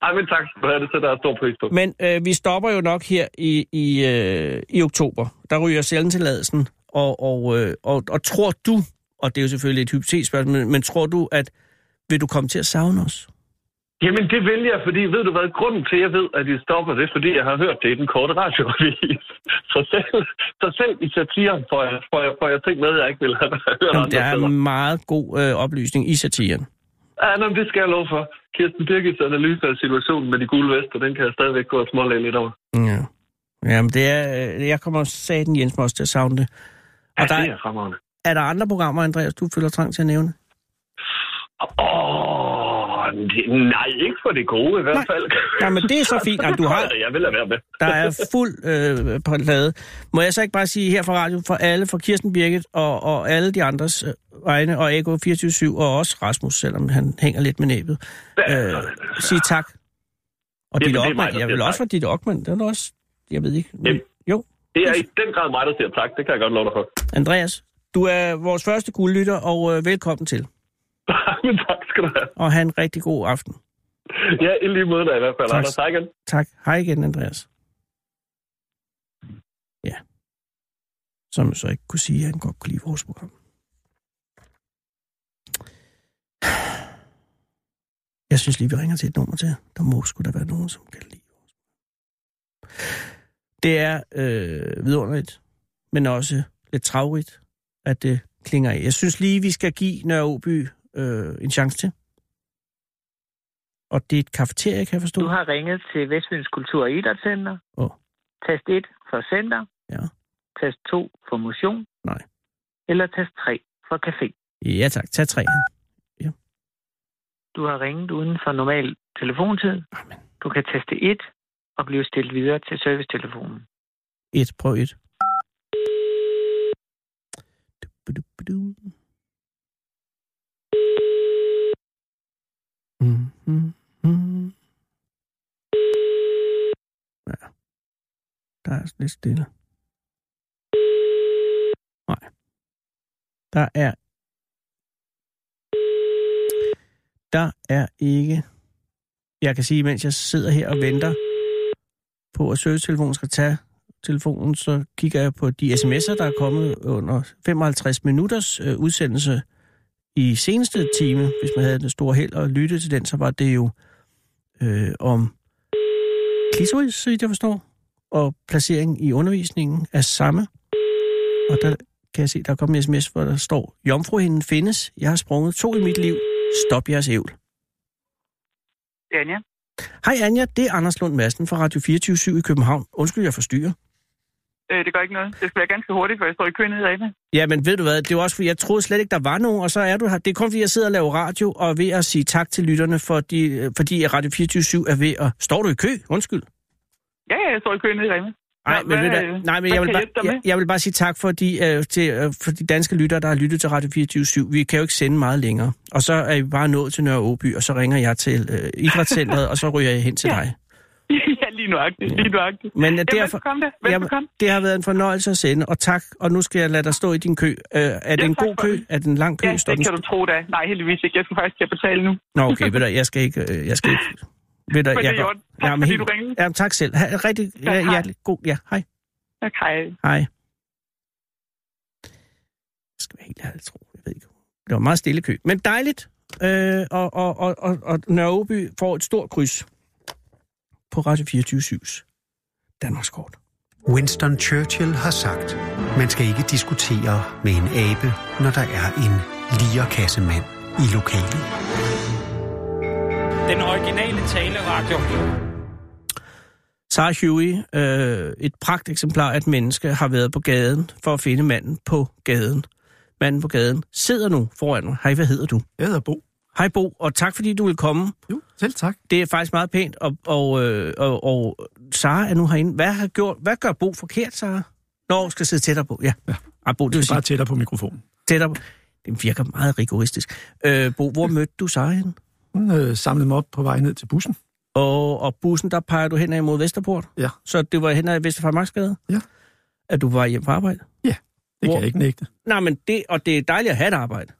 S9: Ej, men tak skal du have. Det sætter jeg stor pris på.
S4: Men øh, vi stopper jo nok her i, i, øh, i oktober. Der ryger selvtilladelsen, og, og, øh, og, og tror du, og det er jo selvfølgelig et hypotetisk spørgsmål, men, men tror du, at vil du komme til at savne os?
S9: Jamen, det vil jeg, fordi ved du hvad, grunden til, at jeg ved, at de stopper, det er, fordi jeg har hørt det i den korte radioavis. Så selv, så selv i satiren får jeg, får, jeg, får jeg ting med, jeg ikke ville have hørt
S4: Jamen,
S9: andre
S4: der er
S9: steder.
S4: meget god øh, oplysning i satiren.
S9: Ja, nå, men det skal jeg love for. Kirsten Birgits analyse af situationen med de gule vester, den kan jeg stadigvæk gå og smålæge lidt over.
S4: Ja. Jamen, det er, øh, jeg kommer satan Jens også til at savne det.
S9: Ja,
S4: Og der,
S9: det
S4: er-
S9: er fremragende.
S4: er der andre programmer, Andreas, du føler trang til at nævne?
S9: Åh, det- nej, ikke for det gode i hvert
S4: Nej.
S9: fald.
S4: Jamen, det er så fint. Jamen, du har,
S9: Jeg vil lade være med.
S4: der er fuld øh, plade. Må jeg så ikke bare sige her fra radio, for alle, for Kirsten Birgit og, og alle de andres øh, egne, og Ego 24 og også Rasmus, selvom han hænger lidt med næbet. Øh, sige tak. Og
S9: Jamen,
S4: dit
S9: det er mig,
S4: Ockmann,
S9: der
S4: jeg
S9: siger
S4: vil også
S9: tak.
S4: for dit Ockmann, det er da også, jeg ved ikke. Men,
S9: Jamen.
S4: jo,
S9: Det er i den grad mig, der siger tak. Det kan jeg godt love dig for.
S4: Andreas, du er vores første guldlytter, og øh, velkommen til.
S9: Men tak skal du have.
S4: Og have en rigtig god aften.
S9: Ja, i lige måde da i hvert fald.
S4: Tak.
S9: Anders, hej igen.
S4: Tak. Hej igen, Andreas. Ja. Som jeg så ikke kunne sige, at han godt kunne lide vores program. Jeg synes lige, vi ringer til et nummer til. Der må sgu da være nogen, som kan lide vores program. Det er øh, vidunderligt, men også lidt travrigt, at det klinger af. Jeg synes lige, vi skal give Nørre Åby øh, en chance til. Og det er et kafeterie, kan jeg forstå.
S10: Du har ringet til Vestfyns Kultur- og Idrætscenter.
S4: Åh.
S10: Tast 1 for center.
S4: Ja.
S10: Tast 2 for motion.
S4: Nej.
S10: Eller tast 3 for café.
S4: Ja tak, tag tre.
S10: Du har ringet uden for normal telefontid.
S4: Amen.
S10: Du kan taste 1 og blive stillet videre til servicetelefonen.
S4: Et, prøv et. Mhm. Ja. Der er lidt stille. Nej. Der er... Der er ikke... Jeg kan sige, mens jeg sidder her og venter på, at servicetelefonen skal tage telefonen, så kigger jeg på de sms'er, der er kommet under 55 minutters øh, udsendelse i seneste time. Hvis man havde den store held og lytte til den, så var det jo øh, om klitoris, så vidt jeg forstår, og placering i undervisningen af samme. Og der kan jeg se, der er kommet en sms, hvor der står, Jomfruhinden findes, jeg har sprunget to i mit liv, stop jeres ævl.
S10: Anja?
S4: Hej Anja, det er Anders Lund Madsen fra Radio 24 i København. Undskyld, jeg forstyrrer.
S10: Øh, det gør ikke noget. Det skal være ganske hurtigt, for jeg står i køen nede af
S4: Ja, men ved du hvad, det var også fordi, jeg troede slet ikke, der var nogen, og så er du her. Det er kun fordi, jeg sidder og laver radio, og er ved at sige tak til lytterne, fordi, fordi Radio 24 er ved at... Står du i kø? Undskyld.
S10: Ja, ja, jeg står i køen nede i
S4: Nej,
S10: Nå,
S4: men,
S10: hvad,
S4: ved du,
S10: øh,
S4: hvad- nej, men
S10: hvad
S4: jeg, vil
S10: kan
S4: bare,
S10: hjælpe dig
S4: jeg,
S10: med?
S4: jeg vil bare sige tak for de, øh, til, øh, for de danske lyttere, der har lyttet til Radio 24 Vi kan jo ikke sende meget længere. Og så er I bare nået til Nørre Åby, og så ringer jeg til øh, Idrætscenteret, og så ryger jeg hen til
S10: Ja.
S4: dig.
S10: ja, lige nuagtigt, lige nuagtigt.
S4: Men øh,
S10: Jamen,
S4: derfor...
S10: velkommen da.
S4: Jamen,
S10: Velkommen.
S4: det har været en fornøjelse at sende, og tak. Og nu skal jeg lade dig stå i din kø. Øh, er det
S10: Ja,
S4: en
S10: tak
S4: god
S10: for
S4: kø?
S10: det.
S4: Er det en lang kø?
S10: Ja,
S4: Står den
S10: det kan du tro da. Nej, heldigvis ikke. Jeg skal faktisk til at betale nu.
S4: Nå, okay, ved du, jeg skal ikke... øh, Jeg skal ikke ved du,
S10: Men det
S4: jeg
S10: er i orden. Tak,
S4: jamen,
S10: fordi
S4: helt-
S10: du ringede.
S4: Jamen, tak selv. Ha, rigtig ja,
S10: hej.
S4: hjertelig god... Ja, hej.
S10: Okay.
S4: Hej. Jeg skal være helt ærlig, tro. Jeg ved ikke. Det var en meget stille kø. Men dejligt. Øh, og, og, og, og, og Nørreby får et stort kryds på Radio 24-7's Danmarkskort.
S2: Winston Churchill har sagt, man skal ikke diskutere med en abe, når der er en lierkassemand i lokalet.
S11: Den originale taleradio.
S4: Sarah Huey, øh, et pragt eksemplar af et menneske, har været på gaden for at finde manden på gaden. Manden på gaden sidder nu foran mig. Hej, hvad hedder du?
S7: Jeg hedder Bo.
S4: Hej Bo, og tak fordi du vil komme.
S7: Jo, selv tak.
S4: Det er faktisk meget pænt, og, og, øh, og, og Sara er nu herinde. Hvad, har gjort, hvad gør Bo forkert, Sara? Nå, skal sidde tættere på, ja. ja. Ah, Bo, det vil
S7: Bare
S4: sige
S7: tættere på mikrofonen.
S4: tættere på. Det virker meget rigoristisk. Øh, Bo, hvor mødte du Sara henne?
S7: Hun øh, samlede mig op på vej ned til bussen.
S4: Og, og bussen, der peger du henad mod Vesterport?
S7: Ja.
S4: Så det var henad i Vesterfarmarksgade?
S7: Ja.
S4: At du var hjem fra arbejde?
S7: Det
S4: Hvor-
S7: kan jeg ikke nægte.
S4: Nej, men det, og det er dejligt at have et arbejde.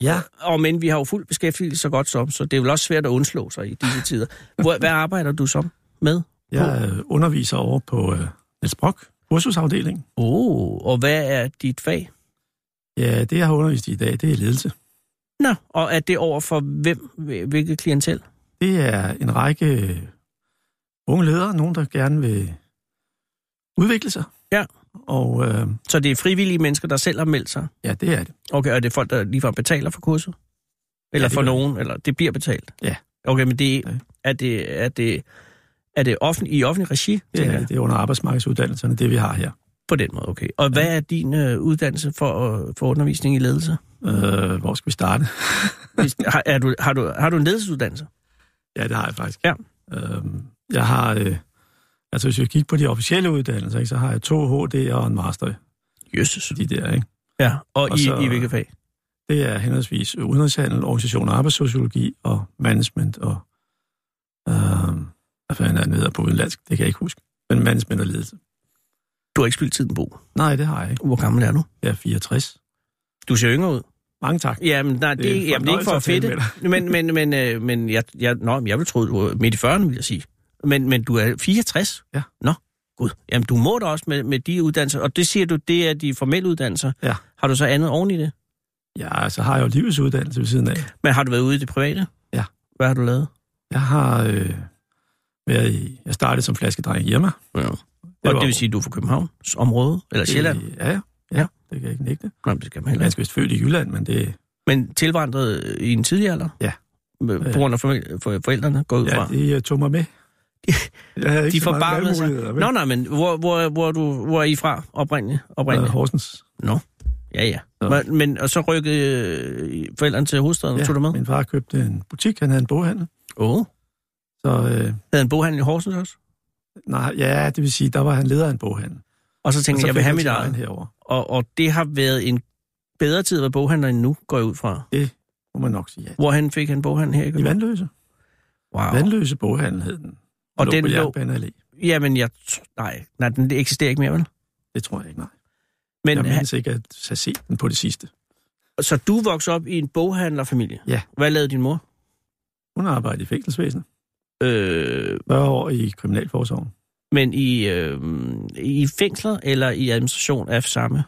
S7: Ja.
S4: Og men vi har jo fuld beskæftigelse så godt som, så det er vel også svært at undslå sig i disse tider. Hvor, hvad arbejder du som med?
S7: Jeg øh, underviser over på øh, Niels Brock, kursusafdelingen.
S4: Oh, og hvad er dit fag?
S7: Ja, det jeg har undervist i i dag, det er ledelse.
S4: Nå, og er det over for hvem, hvil- hvilket klientel?
S7: Det er en række øh, unge ledere, nogen der gerne vil udvikle sig.
S4: Ja.
S7: Og øh,
S4: Så det er frivillige mennesker, der selv har meldt sig?
S7: ja, det er det.
S4: Okay, og er det folk, der ligefrem betaler for kurset? Eller
S7: Ja,
S4: ja,
S7: det
S4: for
S7: gør
S4: nogen, eller det bliver betalt?
S7: Ja.
S4: Okay, men det,
S7: Ja.
S4: er, det, er, det, Er det offentlig, i offentlig regi?
S7: Ja, det er under arbejdsmarkedsuddannelserne, det vi har her.
S4: På den måde, okay. Og hvad er din øh, uddannelse for, øh, for undervisning i ledelse?
S7: Øh, hvor skal vi starte?
S4: har, er du, har, du, har du en ledelsesuddannelse?
S7: Ja, det har jeg faktisk.
S4: Ja.
S7: Øh, jeg har... Øh, altså, hvis vi kigger på de officielle uddannelser, ikke, så har jeg to HD'er og en master.
S4: Jesus.
S7: De der, ikke?
S4: Ja, og, og
S7: Og
S4: i,
S7: så-
S4: i hvilket fag?
S7: Det er henholdsvis udenrigshandel, organisation og arbejdssociologi og management og... Øh, hvad fanden er den hedder på udenlandsk? Det kan jeg ikke huske. Men management og ledelse.
S4: Du har ikke spildt tiden, Bo.
S7: Nej, det har jeg ikke.
S4: Hvor gammel er du?
S7: Jeg er 64.
S4: Du ser yngre ud.
S7: Mange tak.
S4: Jamen, nej, det,
S7: Det er en
S4: det, jamen, det er ikke for at
S7: fornøjelse
S4: fedte.
S7: at tale
S4: Men, men, men, øh, men jeg, jeg, nå, men jeg vil tro, du er midt i 40'erne, vil jeg sige. Men, men du er 64?
S7: Ja.
S4: Nå, gud. Jamen, du må da også med, med de uddannelser. Og det siger du, det er de formelle uddannelser.
S7: Ja.
S4: Har du så andet oven i det?
S7: Ja, så har jeg jo livets uddannelse ved siden af.
S4: Men har du været ude i det private?
S7: Ja.
S4: Hvad har du lavet?
S7: Jeg har øh, været i, jeg startede som flaskedreng hjemme.
S4: Ja. Det
S7: var-
S4: og det vil sige, at du er fra Københavns område? Eller Sjælland?
S7: Øh, Ja, ja, ja, det kan jeg ikke nægte.
S4: Nå, men det skal man heller
S7: Man
S4: ikke.
S7: skal vist født i Jylland, men det,
S4: Men tilvandret i en tidlig alder?
S7: Ja. Øh.
S4: Med- På grund af formel- for, forældrene går jeg ud fra?
S7: ja, de øh, tog mig med. Jeg havde
S4: De
S7: ikke så mange
S4: forbarmede sig.
S7: valgmuligheder, vel?
S4: Nå, nej, men hvor, hvor, hvor, er du, hvor er I fra oprindeligt?
S7: Øh,
S4: oprindeligt?
S7: Horsens.
S4: Ja, ja.
S7: Så.
S4: Men, men, og så rykkede øh, forældrene til hovedstaden og tog dig med?
S7: min far købte en butik, han havde en boghandel.
S4: Åh. Oh.
S7: Så øh,
S4: Havde en boghandel i Horsens også?
S7: nej, ja, det vil sige, der var han leder af en boghandel.
S4: Og så tænkte
S7: Og
S4: jeg,
S7: så
S4: jeg vil
S7: fik
S4: have mit
S7: sin egen
S4: eget.
S7: herover.
S4: Og, og det har været en bedre tid at være boghandler end nu, går jeg ud fra.
S7: Må man nok sige ja.
S4: Hvorhen fik han boghandel her i
S7: I
S4: København?
S7: Vandløse.
S4: Wow.
S7: Vandløse boghandel hed den.
S4: Og den
S7: på
S4: lå-
S7: Jernbane Allé.
S4: Jamen, jeg... tr- Nej, nej, den eksisterer ikke mere, vel?
S7: Det tror jeg ikke, nej. Men,
S4: Men
S7: jeg
S4: han,
S7: mindes ikke at have set den på det sidste.
S4: så du voksede op i en boghandlerfamilie?
S7: Ja.
S4: Hvad lavede din mor?
S7: Hun arbejdede i fængselsvæsenet.
S4: Øh,
S7: 40 år i Kriminalforsorgen.
S4: men i, øh, i fængsler eller i administration af samme?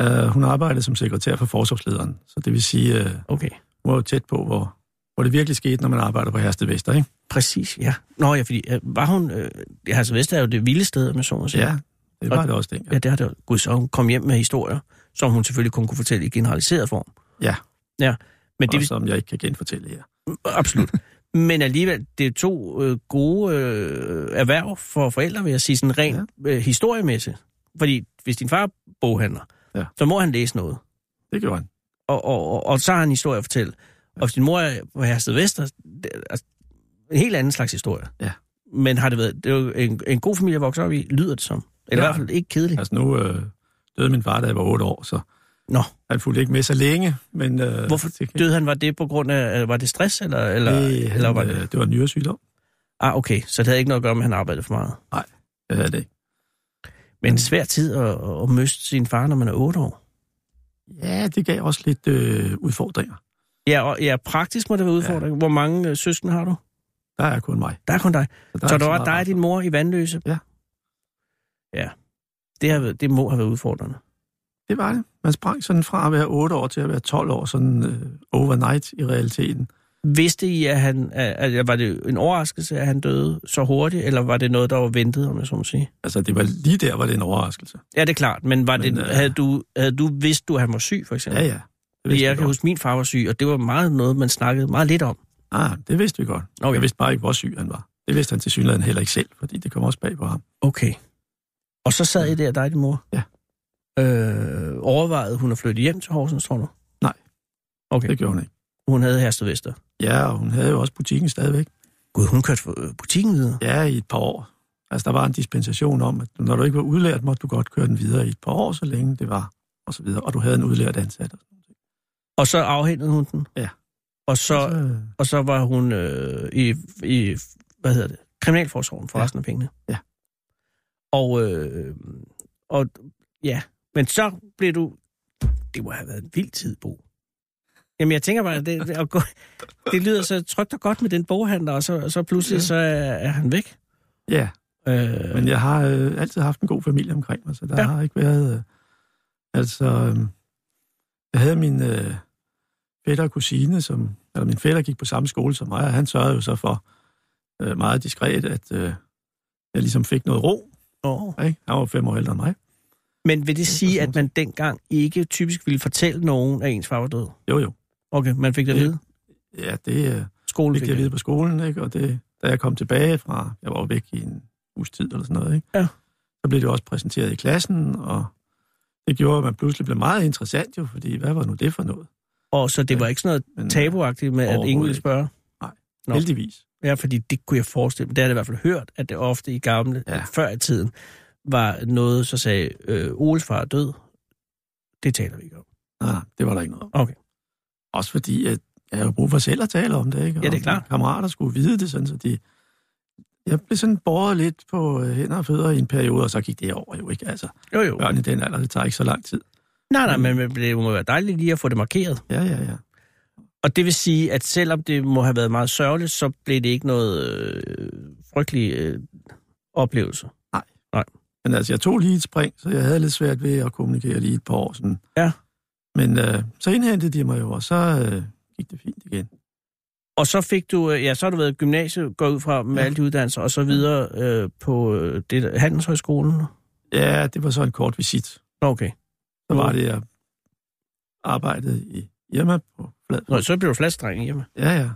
S7: Uh, hun arbejdede som sekretær for forsorgslederen, så det vil sige, uh,
S4: Okay.
S7: hun var jo tæt på, hvor, hvor det virkelig skete, når man arbejder på Hersted Vester, ikke?
S4: Præcis, ja. Nå ja, fordi øh, var hun... Øh, altså, Vest er jo det vilde sted, med så må sige.
S7: Ja, det var det også dengang.
S4: ja, det har det jo. Gud, så hun kom hjem med historier, som hun selvfølgelig kun kunne fortælle i generaliseret form.
S7: Ja.
S4: Ja, men det
S7: Og
S4: vil...
S7: som jeg ikke kan genfortælle her.
S4: Absolut. Men alligevel, det er to øh, gode øh, erhverv for forældre, vil jeg sige, sådan rent øh, historiemæssigt. Fordi hvis din far er boghandler,
S7: Ja.
S4: så må han læse noget.
S7: Det gjorde han.
S4: og, og, og, og så har han en historie at fortælle. Og hvis din mor er på Hersted Vester, det er altså en helt anden slags historie.
S7: Ja.
S4: Men har det været det er jo en, en god familie at vokse op i, lyder det som. Eller ja. i
S7: Ja.
S4: hvert fald ikke kedeligt.
S7: Altså nu øh, døde min far, da jeg var 8 år, så
S4: Nå,
S7: han fulgte ikke med så længe, men... Øh,
S4: hvorfor
S7: det, kan-
S4: døde han? Var det på grund af, eller var det stress, eller, eller,
S7: det, han,
S4: eller var
S7: øh,
S4: det...
S7: det var en nyresygdom.
S4: Ah, okay, så det havde ikke noget at gøre med, at han arbejdede for meget.
S7: Det havde det ikke.
S4: Men en svær tid at, at miste sin far, når man er otte år.
S7: Ja, det gav også lidt øh, udfordringer.
S4: Ja, og, ja, praktisk må det være udfordring. Ja. Hvor mange øh, søskende har du?
S7: Der er kun mig.
S4: Der er kun dig.
S7: er
S4: Der så
S7: ikke
S4: der var
S7: meget
S4: dig og din mor i Vandløse?
S7: Ja.
S4: Ja. Det, har, været- det må have været udfordrende.
S7: Det var det. Man sprang sådan fra at være 8 år til at være 12 år, sådan øh, overnight i realiteten.
S4: Vidste I, at han, at, at, var det en overraskelse, at han døde så hurtigt, eller var det noget, der var ventet, om jeg så må sige?
S7: Altså, det var lige der, var det en overraskelse.
S4: Ja, det er klart, men, var men
S7: Men,
S4: det,
S7: øh,
S4: havde, du, havde du vidst, du at han var syg, for eksempel?
S7: Ja, ja. Det
S4: Fordi
S7: vidste
S4: jeg
S7: vi
S4: kan
S7: godt.
S4: huske, min far var syg, og det var meget noget, man snakkede meget lidt om.
S7: Ah, det vidste vi godt.
S4: Okay.
S7: Okay. Jeg vidste bare ikke, hvor syg han var. Det vidste han til synligheden heller ikke selv, fordi det kom også bag på ham.
S4: Okay. Og så sad I der, dig og din mor?
S7: Ja.
S4: Øh, overvejede hun at flytte hjem til Horsens, tror du?
S7: Nej.
S4: Okay.
S7: Det gjorde hun ikke.
S4: Hun havde Hersted Vester.
S7: Ja, og hun havde jo også butikken stadigvæk.
S4: Gud, hun kørte for, øh, butikken videre.
S7: Ja, i et par år. Altså, der var en dispensation om, at når du ikke var udlært, måtte du godt køre den videre i et par år, så længe det var, og så videre. Og du havde en udlært ansat.
S4: Og så afhændede hun den?
S7: Ja.
S4: Og så,
S7: Så, øh,
S4: Og så var hun øh, i, i, hvad hedder det, kriminalforsorgen for
S7: Ja.
S4: resten af pengene.
S7: Ja.
S4: Og, øh, og ja, men så blev du, det må have været en vild tid, Bo. Jamen, jeg tænker bare, det, det, at gå, det lyder så trygt og godt med den boghandler, og så, og så pludselig
S7: Ja.
S4: så er, er han væk.
S7: ja,
S4: Øh,
S7: men jeg har øh, altid haft en god familie omkring mig, så der
S4: Ja.
S7: ja. har ikke været... Øh, altså, øh, jeg havde min øh, fætter og kusine, som, eller min fætter gik på samme skole som mig, og han sørgede jo så for øh, meget diskret, at øh, jeg ligesom fik noget ro.
S4: åh.
S7: Ikke? Han var fem år ældre end mig.
S4: Men vil det sige,
S7: sådan
S4: at man dengang ikke typisk ville fortælle nogen, at ens far var død?
S7: Jo, jo.
S4: Okay, man fik det at
S7: Ja.
S4: vide.
S7: Ja, det øh,
S4: Skolen
S7: fik
S4: fik
S7: jeg at
S4: det.
S7: vide på skolen, ikke? og det da jeg kom tilbage fra, jeg var jo væk i en uges tid eller sådan noget, ikke?
S4: Ja.
S7: Så blev det også præsenteret i klassen, og det gjorde, at man pludselig blev meget interessant jo, fordi hvad var nu det for noget?
S4: Og så det var ikke sådan noget tabuagtigt med, at ingen ville
S7: øh, Overhovedet
S4: spørge?
S7: Nej, heldigvis.
S4: Ja, fordi det kunne jeg forestille mig. Det har jeg i hvert fald hørt, at det ofte i gamle, ja. før i tiden, var noget, så sagde, øh, Oles far er død. Det taler vi ikke om.
S7: Nej, nej, det var der ikke noget om.
S4: Okay.
S7: Også fordi, at jeg havde brug for selv at tale om det, ikke?
S4: Ja, det er
S7: Og
S4: klart.
S7: mine kammerater skulle vide det, sådan så de... Jeg blev sådan båret lidt på øh, hænder og fødder i en periode, og så gik det over jo, ikke? Altså,
S4: Jo, jo.
S7: børn i den alder, det tager ikke så lang tid.
S4: Nej, nej, men det må være dejligt lige at få det markeret.
S7: Ja, ja, ja.
S4: Og det vil sige, at selvom det må have været meget sørgeligt, så blev det ikke noget øh, frygtelig øh, oplevelse.
S7: Men altså, jeg tog lige et spring, så jeg havde lidt svært ved at kommunikere lige et par år sådan.
S4: Ja.
S7: Men øh, så indhentede de mig jo, og så øh, gik det fint igen.
S4: Og så fik du, øh, ja, så har du været i gymnasiet, går ud fra med ja. alle de uddannelser, og så videre øh, på øh, det, der- Handelshøjskolen.
S7: Ja, det var så en kort visit.
S4: Nå, Okay.
S7: Så var det, jeg arbejdede i Irma på flad.
S4: Nå, så blev du fladsdreng hjemme.
S7: Ja, ja.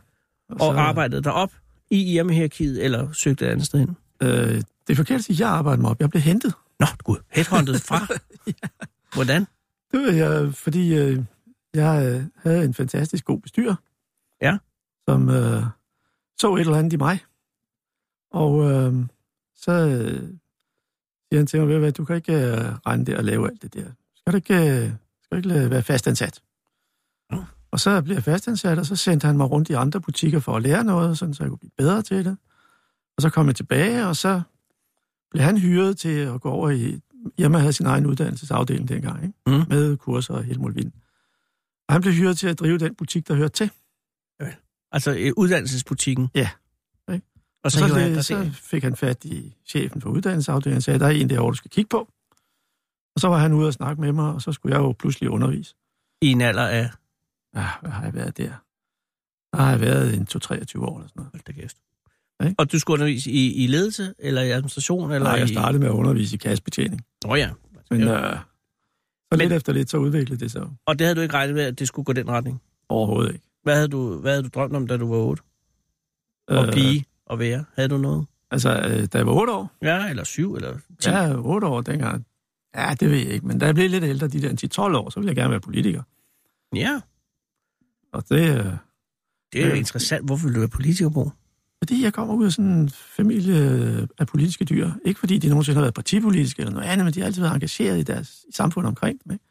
S4: Og, og arbejdede derop i hjemmehierarkiet, eller søgte et andet sted hen?
S7: Øh, det er forkert at sige, at jeg arbejdede mig op. Jeg blev hentet.
S4: Nå, gud, headhunted fra. Hvordan?
S7: Det var jeg, fordi øh, jeg øh, havde en fantastisk god bestyrer.
S4: Ja.
S7: Som øh, så et eller andet i mig. Og øh, så øh, siger han til mig, ved du hvad, du kan ikke øh, rende der og lave alt det der. Skal du ikke, øh, skal du ikke lade- være fastansat? Og så blev jeg fastansat, og så sendte han mig rundt i andre butikker for at lære noget, sådan, så jeg kunne blive bedre til det. Og så kom jeg tilbage, og så blev han hyret til at gå over i... Irma havde sin egen uddannelsesafdeling dengang, ikke?
S4: Mm.
S7: med kurser og helt muligt. Og han blev hyret til at drive den butik, der hørte til.
S4: Altså øh, uddannelsesbutikken?
S7: Ja.
S4: Okay.
S7: Ikke?
S4: Og så, så,
S7: det-
S4: han dig
S7: så
S4: så...
S7: fik han fat i chefen for uddannelsesafdelingen og sagde, der er en derovre, du skal kigge på. Og så var han ude og snakke med mig, og så skulle jeg jo pludselig undervise.
S4: i en alder af...
S7: Ja, hvad har jeg været der? Der har jeg været en 2-23 år eller sådan noget.
S4: Hold da kæft.
S7: Ikke?
S4: Og du skulle undervise i, i ledelse, eller i administration, eller
S7: Nej, jeg
S4: i...
S7: startede med at undervise i kassebetjening.
S4: Nå ja.
S7: Men,
S4: Ja.
S7: øh, så lidt efter lidt, så udviklede det sig jo.
S4: Og det havde du ikke regnet med, at det skulle gå den retning?
S7: overhovedet ikke.
S4: Hvad havde du, hvad havde du drømt om, da du var 8? At
S7: Øh,
S4: blive og være? Havde du noget?
S7: Altså, øh, da jeg var 8 år,
S4: Ja, eller syv, eller ti?
S7: Ja, otte år dengang. Ja, det ved jeg ikke, men da jeg blev lidt ældre, de der 10-12 år, så ville jeg gerne være politiker.
S4: ja.
S7: Og det, øh,
S4: Det er jo
S7: Øh.
S4: interessant. Hvorfor ville du være politiker, Bo?
S7: fordi jeg kommer ud af sådan en familie af politiske dyr. Ikke fordi de nogensinde har været partipolitiske eller noget andet, men de har altid været engageret i deres i samfund omkring dem. Ikke?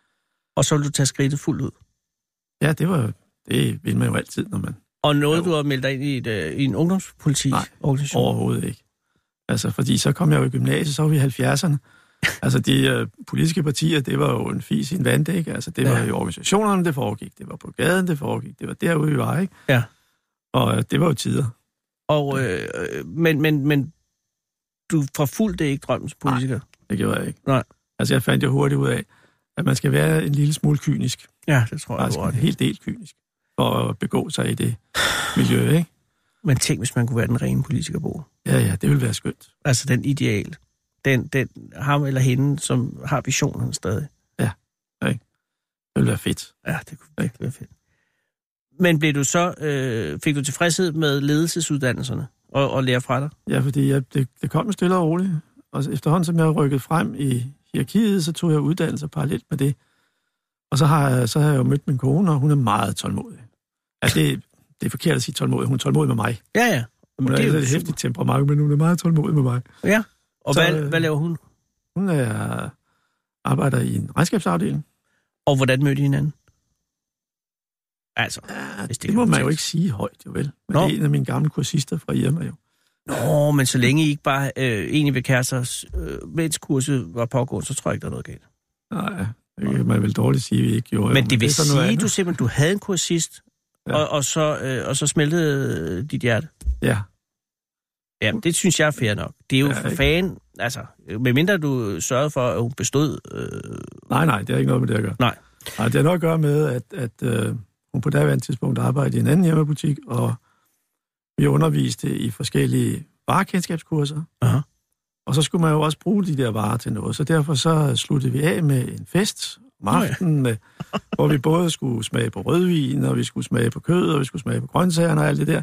S4: Og så ville du tage skridtet fuldt ud.
S7: Ja, det var det vil man jo altid, når man
S4: Og nåede du at melde dig ind i, et, øh, i en ungdomspolitik-organisation?
S7: overhovedet ikke. Altså, fordi så kom jeg jo i gymnasiet, så var vi i 70'erne. Altså, de øh, politiske partier, det var jo en fis i en vanddæk. Altså, det var
S4: Ja.
S7: i organisationerne, det foregik. Det var på gaden, det foregik. Det var derude, vi var, ikke?
S4: Ja.
S7: Og øh, det var jo tider.
S4: Og, øh, øh, men, men, men du forfulgte ikke drømmens politiker?
S7: Det gjorde jeg ikke.
S4: Nej.
S7: Altså, jeg fandt jo hurtigt ud af, at man skal være en lille smule kynisk.
S4: Ja, det tror jeg,
S7: Faktisk
S4: du
S7: en
S4: har ret i.
S7: hel del kynisk. For at begå sig i det miljø, ikke?
S4: Men tænk, hvis man kunne være den rene politiker, Bo.
S7: Ja, ja, det ville være skønt.
S4: Altså den ideal. Den, den, ham eller hende, som har visionen stadig.
S7: Det ville være fedt.
S4: Ja, det kunne virkelig være fedt. Men blev du så, øh, fik du tilfredshed med ledelsesuddannelserne og, og lære fra dig?
S7: Ja, fordi jeg, det, det kom jo stille og roligt. Og så efterhånden, som jeg rykkede frem i hierarkiet, så tog jeg uddannelse parallelt med det. Og så har, jeg, så har jeg jo mødt min kone, og hun er meget tålmodig. Altså, det, det er forkert at sige tålmodig. Hun er tålmodig med mig.
S4: Ja, ja.
S7: Hun har
S4: det er
S7: et
S4: jo
S7: lidt
S4: super.
S7: hæftigt temperament, men hun er meget tålmodig med mig.
S4: Ja. Og
S7: Så,
S4: så, hvad,
S7: øh,
S4: hvad laver hun?
S7: Hun er, arbejder i en regnskabsafdeling.
S4: Og hvordan mødte I hinanden? Altså,
S7: Ja,
S4: Hvis det
S7: det, det
S4: kan
S7: må man
S4: udtales.
S7: jo ikke sige højt, jo vel. Men
S4: Nå.
S7: Nå. det er en af mine gamle kursister fra Irma jo.
S4: nå, men så længe I ikke bare øh, egentlig vil kærester, øh, mens kurset var pågående, så tror jeg ikke, der er noget galt.
S7: Nej, det kan man vel dårligt sige, vi ikke gjorde. jo,
S4: Men det vil
S7: er
S4: det
S7: så noget
S4: sige,
S7: andet.
S4: du simpelthen du havde en kursist, ja.
S7: Ja.
S4: og, og, så, øh, og så smeltede øh, dit hjerte.
S7: Ja,
S4: Ja, det synes jeg er fair nok. Det er jo
S7: Ja,
S4: ja, for
S7: ikke?
S4: fanden, altså, medmindre du sørgede for, at hun bestod. Øh,
S7: nej, nej, det har ikke noget med det at gøre.
S4: Nej.
S7: nej det har noget at gøre med, at, at øh, hun på daværende tidspunkt arbejdede i en anden hjemmebutik, og vi underviste i forskellige varekendskabskurser.
S4: Aha.
S7: Og så skulle man jo også bruge de der varer til noget, så derfor så sluttede vi af med en fest om
S4: ja.
S7: aftenen, med, hvor vi både skulle smage på rødvin, og vi skulle smage på kød, og vi skulle smage på grøntsagerne og alt det der.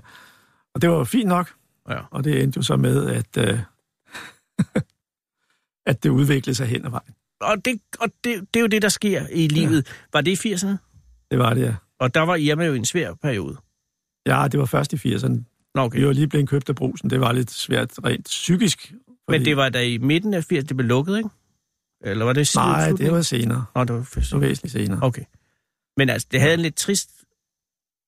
S7: Og det var jo fint nok,
S4: Ja.
S7: Og det endte jo så med, at, øh, at det udviklede sig hen ad vejen.
S4: Og, det, og det, det er jo det, der sker i livet. Ja. Var det i 80'erne?
S7: Det var det, ja.
S4: Og der var Irma jo i en svær periode.
S7: Ja, det var først i 80'erne.
S4: Nå, okay.
S7: Vi var lige blevet købt af brusen. Det var lidt svært rent psykisk.
S4: Men det var da i midten af 80'erne, det blev lukket, ikke? Eller var det siden
S7: Nej, det
S4: slutningen?
S7: var senere.
S4: Nå, det var først.
S7: Det var væsentligt senere.
S4: Okay. Men altså, det havde en lidt trist...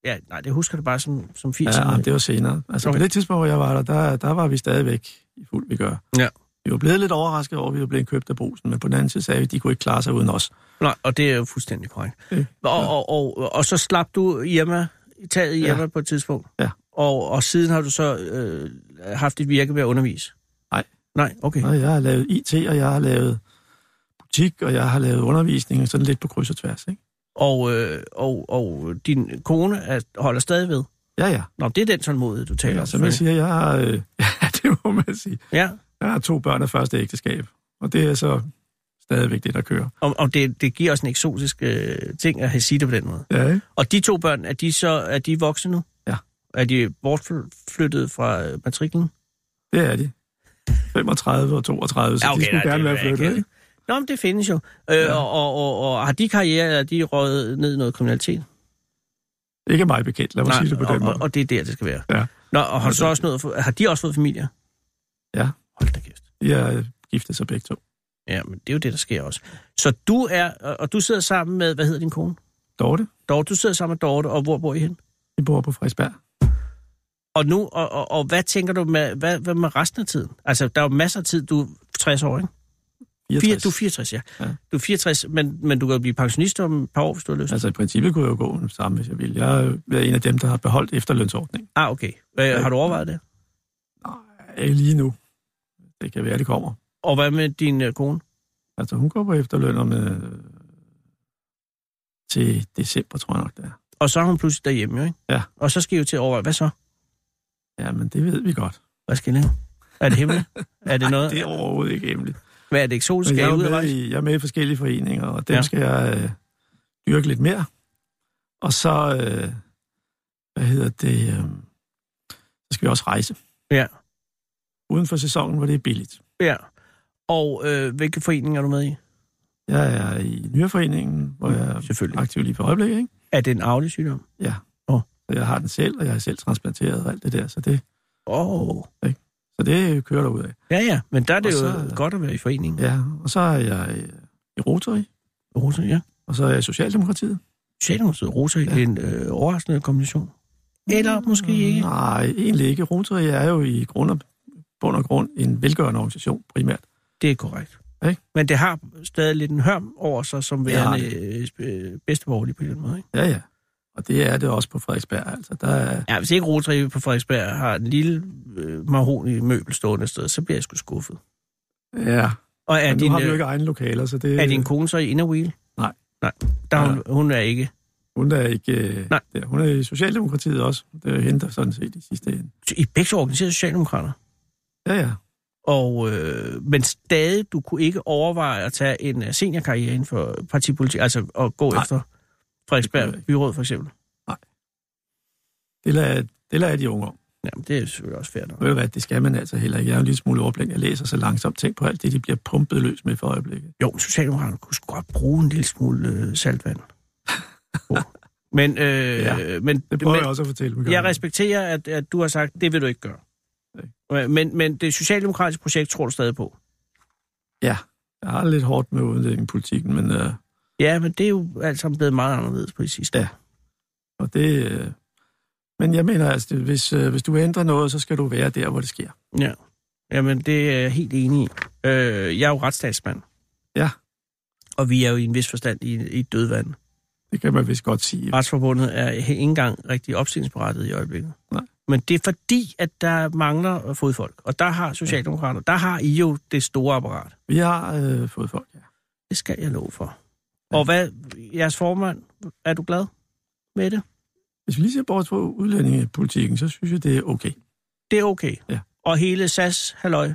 S4: Ja, nej, det husker du bare som, som 80'erne.
S7: Ja, det var senere. Altså
S4: Okay.
S7: på det tidspunkt, hvor jeg var der, der, der var vi stadigvæk i fuld vi gør.
S4: Ja.
S7: Vi var blevet lidt overrasket over, at vi var blevet købt af brusen, men på den anden side sagde vi, at de kunne ikke klare sig uden os.
S4: Nej, og det er jo fuldstændig korrekt.
S7: Øh,
S4: Og, og, og, og så slap du Irma, taget i Irma ja. på et tidspunkt.
S7: Ja.
S4: Og, og siden har du så øh, haft dit virke ved at undervise?
S7: Nej.
S4: Nej, okay.
S7: Og jeg har lavet IT, og jeg har lavet butik, og jeg har lavet undervisning, og sådan lidt på kryds og tværs. Ikke?
S4: Og, øh, og, og din kone er, holder stadig ved?
S7: Ja, ja.
S4: Nå, det er den tålmodighed, du taler
S7: ja
S4: om.
S7: som jeg
S4: selvfølgelig.
S7: siger, jeg har, øh, ja, det må man sige.
S4: Ja,
S7: Jeg har to børn af første ægteskab, og det er så stadigvæk det, der kører.
S4: og, og det, det giver også en eksotisk øh, ting at have sige det på den måde.
S7: Ja, ikke?
S4: Og de to børn, er de så er de voksne nu?
S7: Ja.
S4: Er de bortflyttet fra øh, matriklen?
S7: Det er de. 35 og 32, så ja, okay, de skulle
S4: nej,
S7: gerne
S4: det
S7: være
S4: er jeg
S7: flyttet.
S4: ked af.
S7: Ikke?
S4: Nå, men det findes jo. Øh, ja. og, og, og, og har de karriere, eller er de røget ned i noget kriminalitet?
S7: Ikke mig bekendt, lad mig sige det på
S4: og,
S7: den måde.
S4: Og, og det er der, det skal være.
S7: Ja.
S4: Nå, og har, du så også noget, for- har de også fået familier?
S7: Ja.
S4: Hold da kæft.
S7: De er giftet sig begge to.
S4: Ja, men det er jo det, der sker også. Så du er, og og du sidder sammen med, hvad hedder din kone?
S7: Dorte,
S4: Dorte, du sidder sammen med Dorte, og hvor bor I hen?
S7: de bor på Frederiksberg.
S4: Og nu, og, og, og hvad tænker du med, hvad, hvad med resten af tiden? Altså, der er jo masser af tid, du er 60 år, ikke?
S7: 64.
S4: Du er 64, ja.
S7: Ja.
S4: Du er 64, men, men du kan jo blive pensionist om et par år, hvis du har lyst.
S7: Altså i princippet kunne jeg jo gå den samme, hvis jeg ville. Jeg er en af dem, der har beholdt efterlønsordningen.
S4: Ah, okay. Hvad, har du overvejet det?
S7: Ikke lige nu. Det kan være, det kommer.
S4: Og hvad med din øh, kone?
S7: Altså hun går på efterløn om, øh, til december, tror jeg nok det er.
S4: Og så er hun pludselig derhjemme, jo, ikke?
S7: Ja.
S4: Og så skal I jo til at overveje, hvad så?
S7: Ja, men det ved vi godt.
S4: Hvad skal I lave? Er det hemmeligt? er det noget?
S7: Nej, det er overhovedet ikke hemmeligt.
S4: Hvad er det eksotisk?
S7: Men
S4: Skal
S7: jeg,
S4: I
S7: er
S4: ud
S7: jo
S4: og
S7: med
S4: rejse?
S7: i, jeg er med i forskellige foreninger, og dem
S4: Ja.
S7: ja. skal jeg øh, dyrke lidt mere. Og så, øh, hvad hedder det, øh, så skal vi også rejse.
S4: Ja.
S7: Uden for sæsonen, hvor det er billigt.
S4: Ja. Og øh, hvilke foreninger er du med i?
S7: Jeg er i Nyreforeningen, hvor jeg er
S4: Selvfølgelig.
S7: aktiv lige på øjeblikket, ikke?
S4: Er det en arvelig sygdom?
S7: Ja.
S4: Åh.
S7: Så jeg har den selv, og jeg er selv transplanteret og alt det der, så det,
S4: Åh. Oh.
S7: så det kører der ud af.
S4: Ja, ja. Men der er det
S7: Og
S4: jo
S7: så-
S4: godt at være i foreningen.
S7: Ja, og så er jeg øh, i Rotary,
S4: Rosa, ja.
S7: og så er jeg i Socialdemokratiet.
S4: Socialdemokratiet og Rosa ja.
S7: Ja. Mm,
S4: en øh, overraskende kombination. Eller måske ikke.
S7: Nej, egentlig ikke. Rotary er jo i grund og, bund og grund en velgørende organisation primært.
S4: Det er korrekt.
S7: Ikke?
S4: Men det har stadig lidt en hørm over sig, som
S7: Det har
S4: værende øh, sp- øh, bedsteborgerlig på den måde. Ikke?
S7: Ja, ja. Og det er det også på Frederiksberg, altså. Der er,
S4: Ja, hvis ikke Rotary på Frederiksberg har en lille øh, mahoni møbel stående et sted, så bliver jeg sgu skuffet.
S7: ja.
S4: Og er,
S7: Men nu
S4: din,
S7: har vi jo
S4: øh,
S7: ikke egne lokaler, så det
S4: er din kone så i Inner Wheel?
S7: Nej.
S4: Nej, der, er hun, hun er ikke.
S7: hun er ikke... øh,
S4: Nej.
S7: Der. Hun er i Socialdemokratiet også. Det er hende, der sådan set i sidste ende.
S4: I er begge to organiserede socialdemokrater.
S7: Ja, ja.
S4: Og, øh, men stadig, du kunne ikke overveje at tage en øh, seniorkarriere inden for partipolitik, altså at gå Nej.
S7: Nej.
S4: efter
S7: Det kunne jeg
S4: Frederiksberg
S7: ikke.
S4: Byråd for eksempel.
S7: Det lader, det lader jeg de unge om.
S4: Jamen, det er selvfølgelig også fair nok.
S7: Ved du hvad, det skal man altså heller ikke. Jeg er jo en lille smule overblind. Jeg læser så langsomt. Tænk på alt det, de bliver pumpet løs med for øjeblikket.
S4: Jo, men Socialdemokraterne kunne sgu godt bruge en lille smule øh, saltvand. Jo. men, øh, ja,
S7: Ja,
S4: men,
S7: Det prøver
S4: men
S7: jeg også at fortælle dem.
S4: jeg respekterer, at, at du har sagt, det vil du ikke gøre. Øh, Men, men det socialdemokratiske projekt tror du stadig på.
S7: Ja, jeg har det lidt hårdt med udlændingepolitikken, men... Øh,
S4: Ja, men det er jo alt sammen blevet meget anderledes på det sidste.
S7: Ja. og det, øh, men jeg mener altså, det- hvis, øh, hvis du ændrer noget, så skal du være der, hvor det sker.
S4: ja. Jamen, det er jeg helt enig i. Øh, jeg er jo retsstatsmand.
S7: Ja.
S4: Og vi er jo i en vis forstand i, i et dødvand.
S7: Det kan man vist godt sige.
S4: Retsforbundet er ikke engang rigtig opstillingsberettet i øjeblikket.
S7: Nej.
S4: Men det er fordi, at der mangler fodfolk. Og der har Socialdemokrater, der har I jo det store apparat.
S7: Vi har øh, fået folk, ja.
S4: Det skal jeg love for. Og hvad, jeres formand, er du glad med det?
S7: Hvis vi lige ser bort fra udlændingepolitikken, så synes jeg, det er okay.
S4: Det er okay.
S7: Ja.
S4: Og hele SAS, halløj.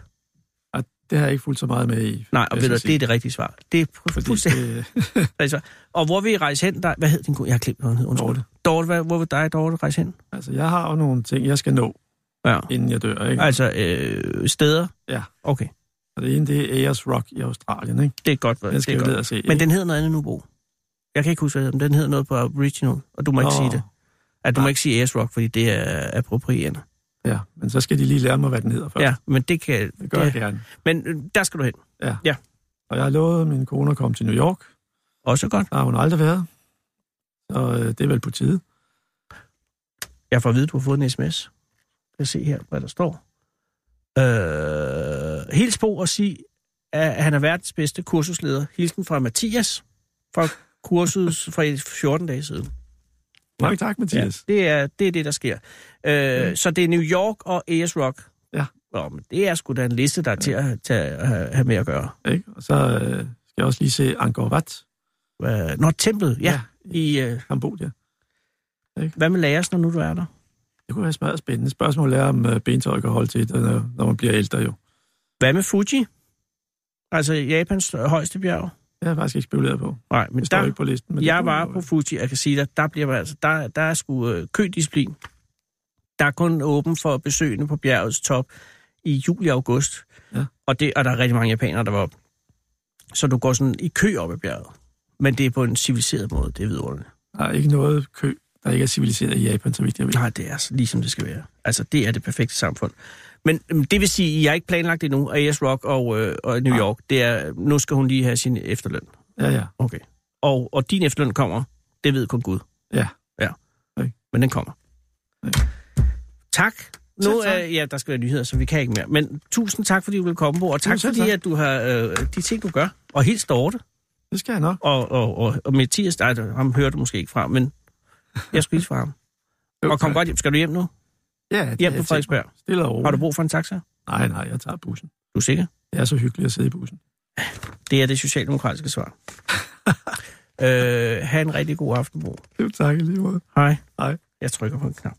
S7: Og det har jeg ikke fulgt så meget med i.
S4: Nej, og
S7: jeg
S4: ved du,
S7: skal
S4: det er det rigtige svar. Det er fu-
S7: Fordi
S4: fuldstændig
S7: det,
S4: det rigtige svar. Og hvor vil I rejse hen? Der, hvad hed din kone? Jeg har glemt, hvad hun hed. Undskyld.
S7: Dorte.
S4: Dorte, hvad, hvor vil dig, Dorte, rejse hen?
S7: altså, jeg har jo nogle ting, jeg skal nå. ja. inden jeg dør. Ikke?
S4: Altså øh, steder?
S7: Ja.
S4: Okay.
S7: Og det ene, det er Ayers Rock i Australien, ikke?
S4: Det er godt. Den
S7: skal
S4: det er
S7: vi ned
S4: godt.
S7: og se.
S4: Men
S7: ikke?
S4: den hedder noget andet nu, Bo. Jeg kan ikke huske, hvad den hedder, men den hedder noget på Original, og du må ikke
S7: Nå.
S4: sige det. At du må ikke sige Ayers Rock, fordi det er approprierende.
S7: Ja, men så skal de lige lære mig, hvad den hedder først.
S4: Ja, men det kan...
S7: Det gør jeg gerne.
S4: Men øh, der skal du hen.
S7: Ja.
S4: Ja.
S7: Og jeg har lovet min kone at komme til New York.
S4: Også godt.
S7: Der har hun aldrig været. Så øh, det er vel på tide.
S4: Jeg får at vide, du har fået en sms. Jeg kan se her, hvad der står. Øh, hils på og sig, at han er verdens bedste kursusleder. Hilsen fra Mathias fra kurset fra 14 dage siden.
S7: Mange tak, Mathias.
S4: Det er det, er det der sker. Øh, mm. Så det er New York og AS Rock.
S7: Ja.
S4: Nå, men det er sgu da en liste, der er til at tage, at have med at gøre.
S7: Ja. Ikke? Og så øh, skal jeg også lige se Angkor Wat.
S4: Øh, Nå, templet, ja. ja. I, øh,
S7: Kambodja.
S4: hvad med Laos, når nu du er der?
S7: Det kunne være smadret spændende. Spørgsmålet er, om øh, bentøj kan holde til, når, når man bliver ældre jo.
S4: Hvad med Fuji? Altså Japans højeste bjerg?
S7: Det har jeg faktisk ikke spekuleret på.
S4: Nej, men
S7: Det står
S4: der,
S7: ikke på listen. Men
S4: jeg
S7: det
S4: var på Fuji, og jeg kan sige dig, der, bliver, man altså, der, der er sgu øh, kødisciplin. Der er kun åben for besøgende på bjergets top i juli og august.
S7: Ja.
S4: Og, det, og der er rigtig mange japanere, der var op. Så du går sådan i kø op ad bjerget. Men det er på en civiliseret måde, det er vidunderligt.
S7: Der er ikke noget kø, der ikke er civiliseret i Japan, så vidt jeg ved.
S4: Nej, det er altså ligesom det skal være. Altså, det er det perfekte samfund. Men øhm, det vil sige, at jeg har ikke planlagt det nu, AS Rock og, øh, og New York. Det er, nu skal hun lige have sin efterløn.
S7: Ja, ja.
S4: Okay. Og, og din efterløn kommer, det ved kun Gud.
S7: Ja.
S4: Men den kommer. Tak. Nu er, ja, der skal være nyheder, så vi kan ikke mere. Men tusind tak, fordi du ville komme på, og tak
S7: selv
S4: fordi,
S7: tak.
S4: at du har øh, de ting, du gør. Og helt Dorte.
S7: Det skal jeg nok.
S4: Og, og, og, og Mathias, nej, ham hører du måske ikke fra, men jeg skulle hilse fra ham. Og kom godt hjem. Skal du hjem nu?
S7: Ja, det
S4: Hjem
S7: er
S4: på
S7: jeg
S4: Frederiksberg.
S7: tænkt. Stille og roligt.
S4: Har du brug for en taxa?
S7: Nej, nej, jeg tager bussen.
S4: Du er sikker?
S7: Det er så hyggeligt at sidde i bussen.
S4: Det er det socialdemokratiske svar. øh, ha' en rigtig god aften, Bo.
S7: Jo, tak i lige måde.
S4: Hej.
S7: Hej.
S4: Jeg trykker på en knap.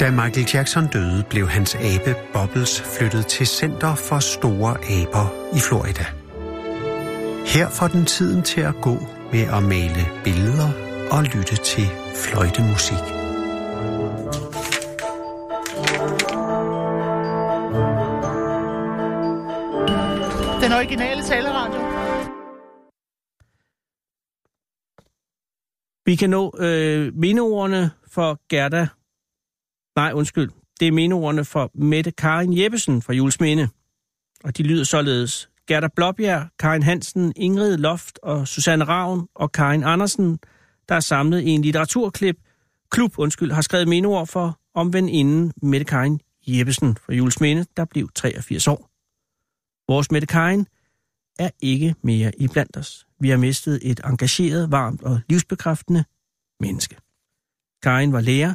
S2: Da Michael Jackson døde, blev hans abe Bobbles flyttet til Center for Store Aber i Florida. Her får den tiden til at gå med at male billeder og lytte til fløjtemusik.
S12: Den originale taleradio.
S4: Vi kan nå øh, mindeordene for Gerda. Nej, undskyld. Det er mindeordene for Mette Karin Jeppesen fra Julesminde. Og de lyder således. Gerda Blåbjerg, Karin Hansen, Ingrid Loft og Susanne Ravn og Karin Andersen, der er samlet i en litteraturklip, klub, undskyld, har skrevet mindeord for om veninden Mette Karin Jeppesen fra Julesminde, der blev 83 år. Vores Mette Karin er ikke mere i blandt os. Vi har mistet et engageret, varmt og livsbekræftende menneske. Karin var lærer.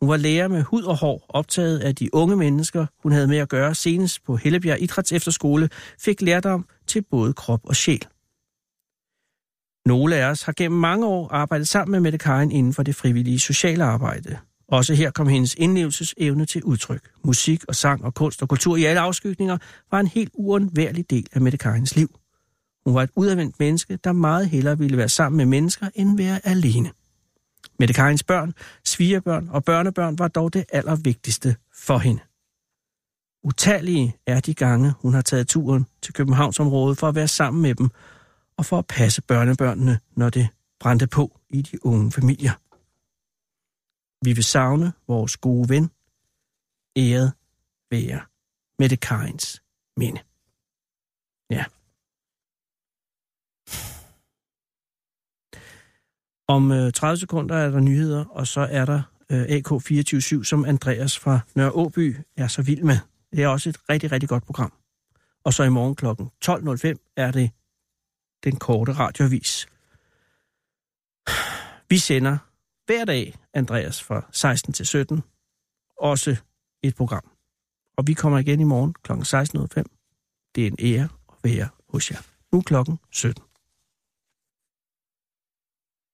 S4: Hun var lærer med hud og hår, optaget af de unge mennesker, hun havde med at gøre senest på Hellebjerg Idræts Efterskole, fik lærdom til både krop og sjæl. Nogle af os har gennem mange år arbejdet sammen med Mette Karin inden for det frivillige sociale arbejde. Også her kom hendes indlevelsesevne til udtryk. Musik og sang og kunst og kultur i alle afskygninger var en helt uundværlig del af Mette Karins liv. Hun var et udadvendt menneske, der meget hellere ville være sammen med mennesker end være alene. Mette Karins børn, svigerbørn og børnebørn var dog det allervigtigste for hende. Utallige er de gange, hun har taget turen til Københavnsområdet for at være sammen med dem og for at passe børnebørnene, når det brændte på i de unge familier. Vi vil savne vores gode ven, æret være Mette Karins minde. Ja. Om øh, 30 sekunder er der nyheder, og så er der øh, AK247, som Andreas fra Nørre Åby er så vild med. Det er også et rigtig, rigtig godt program. Og så i morgen kl. 12.05 er det den korte radiovis. Vi sender hver dag, Andreas, fra 16 til 17, også et program. Og vi kommer igen i morgen kl. 16.05. Det er en ære at være hos jer. Nu er klokken 17.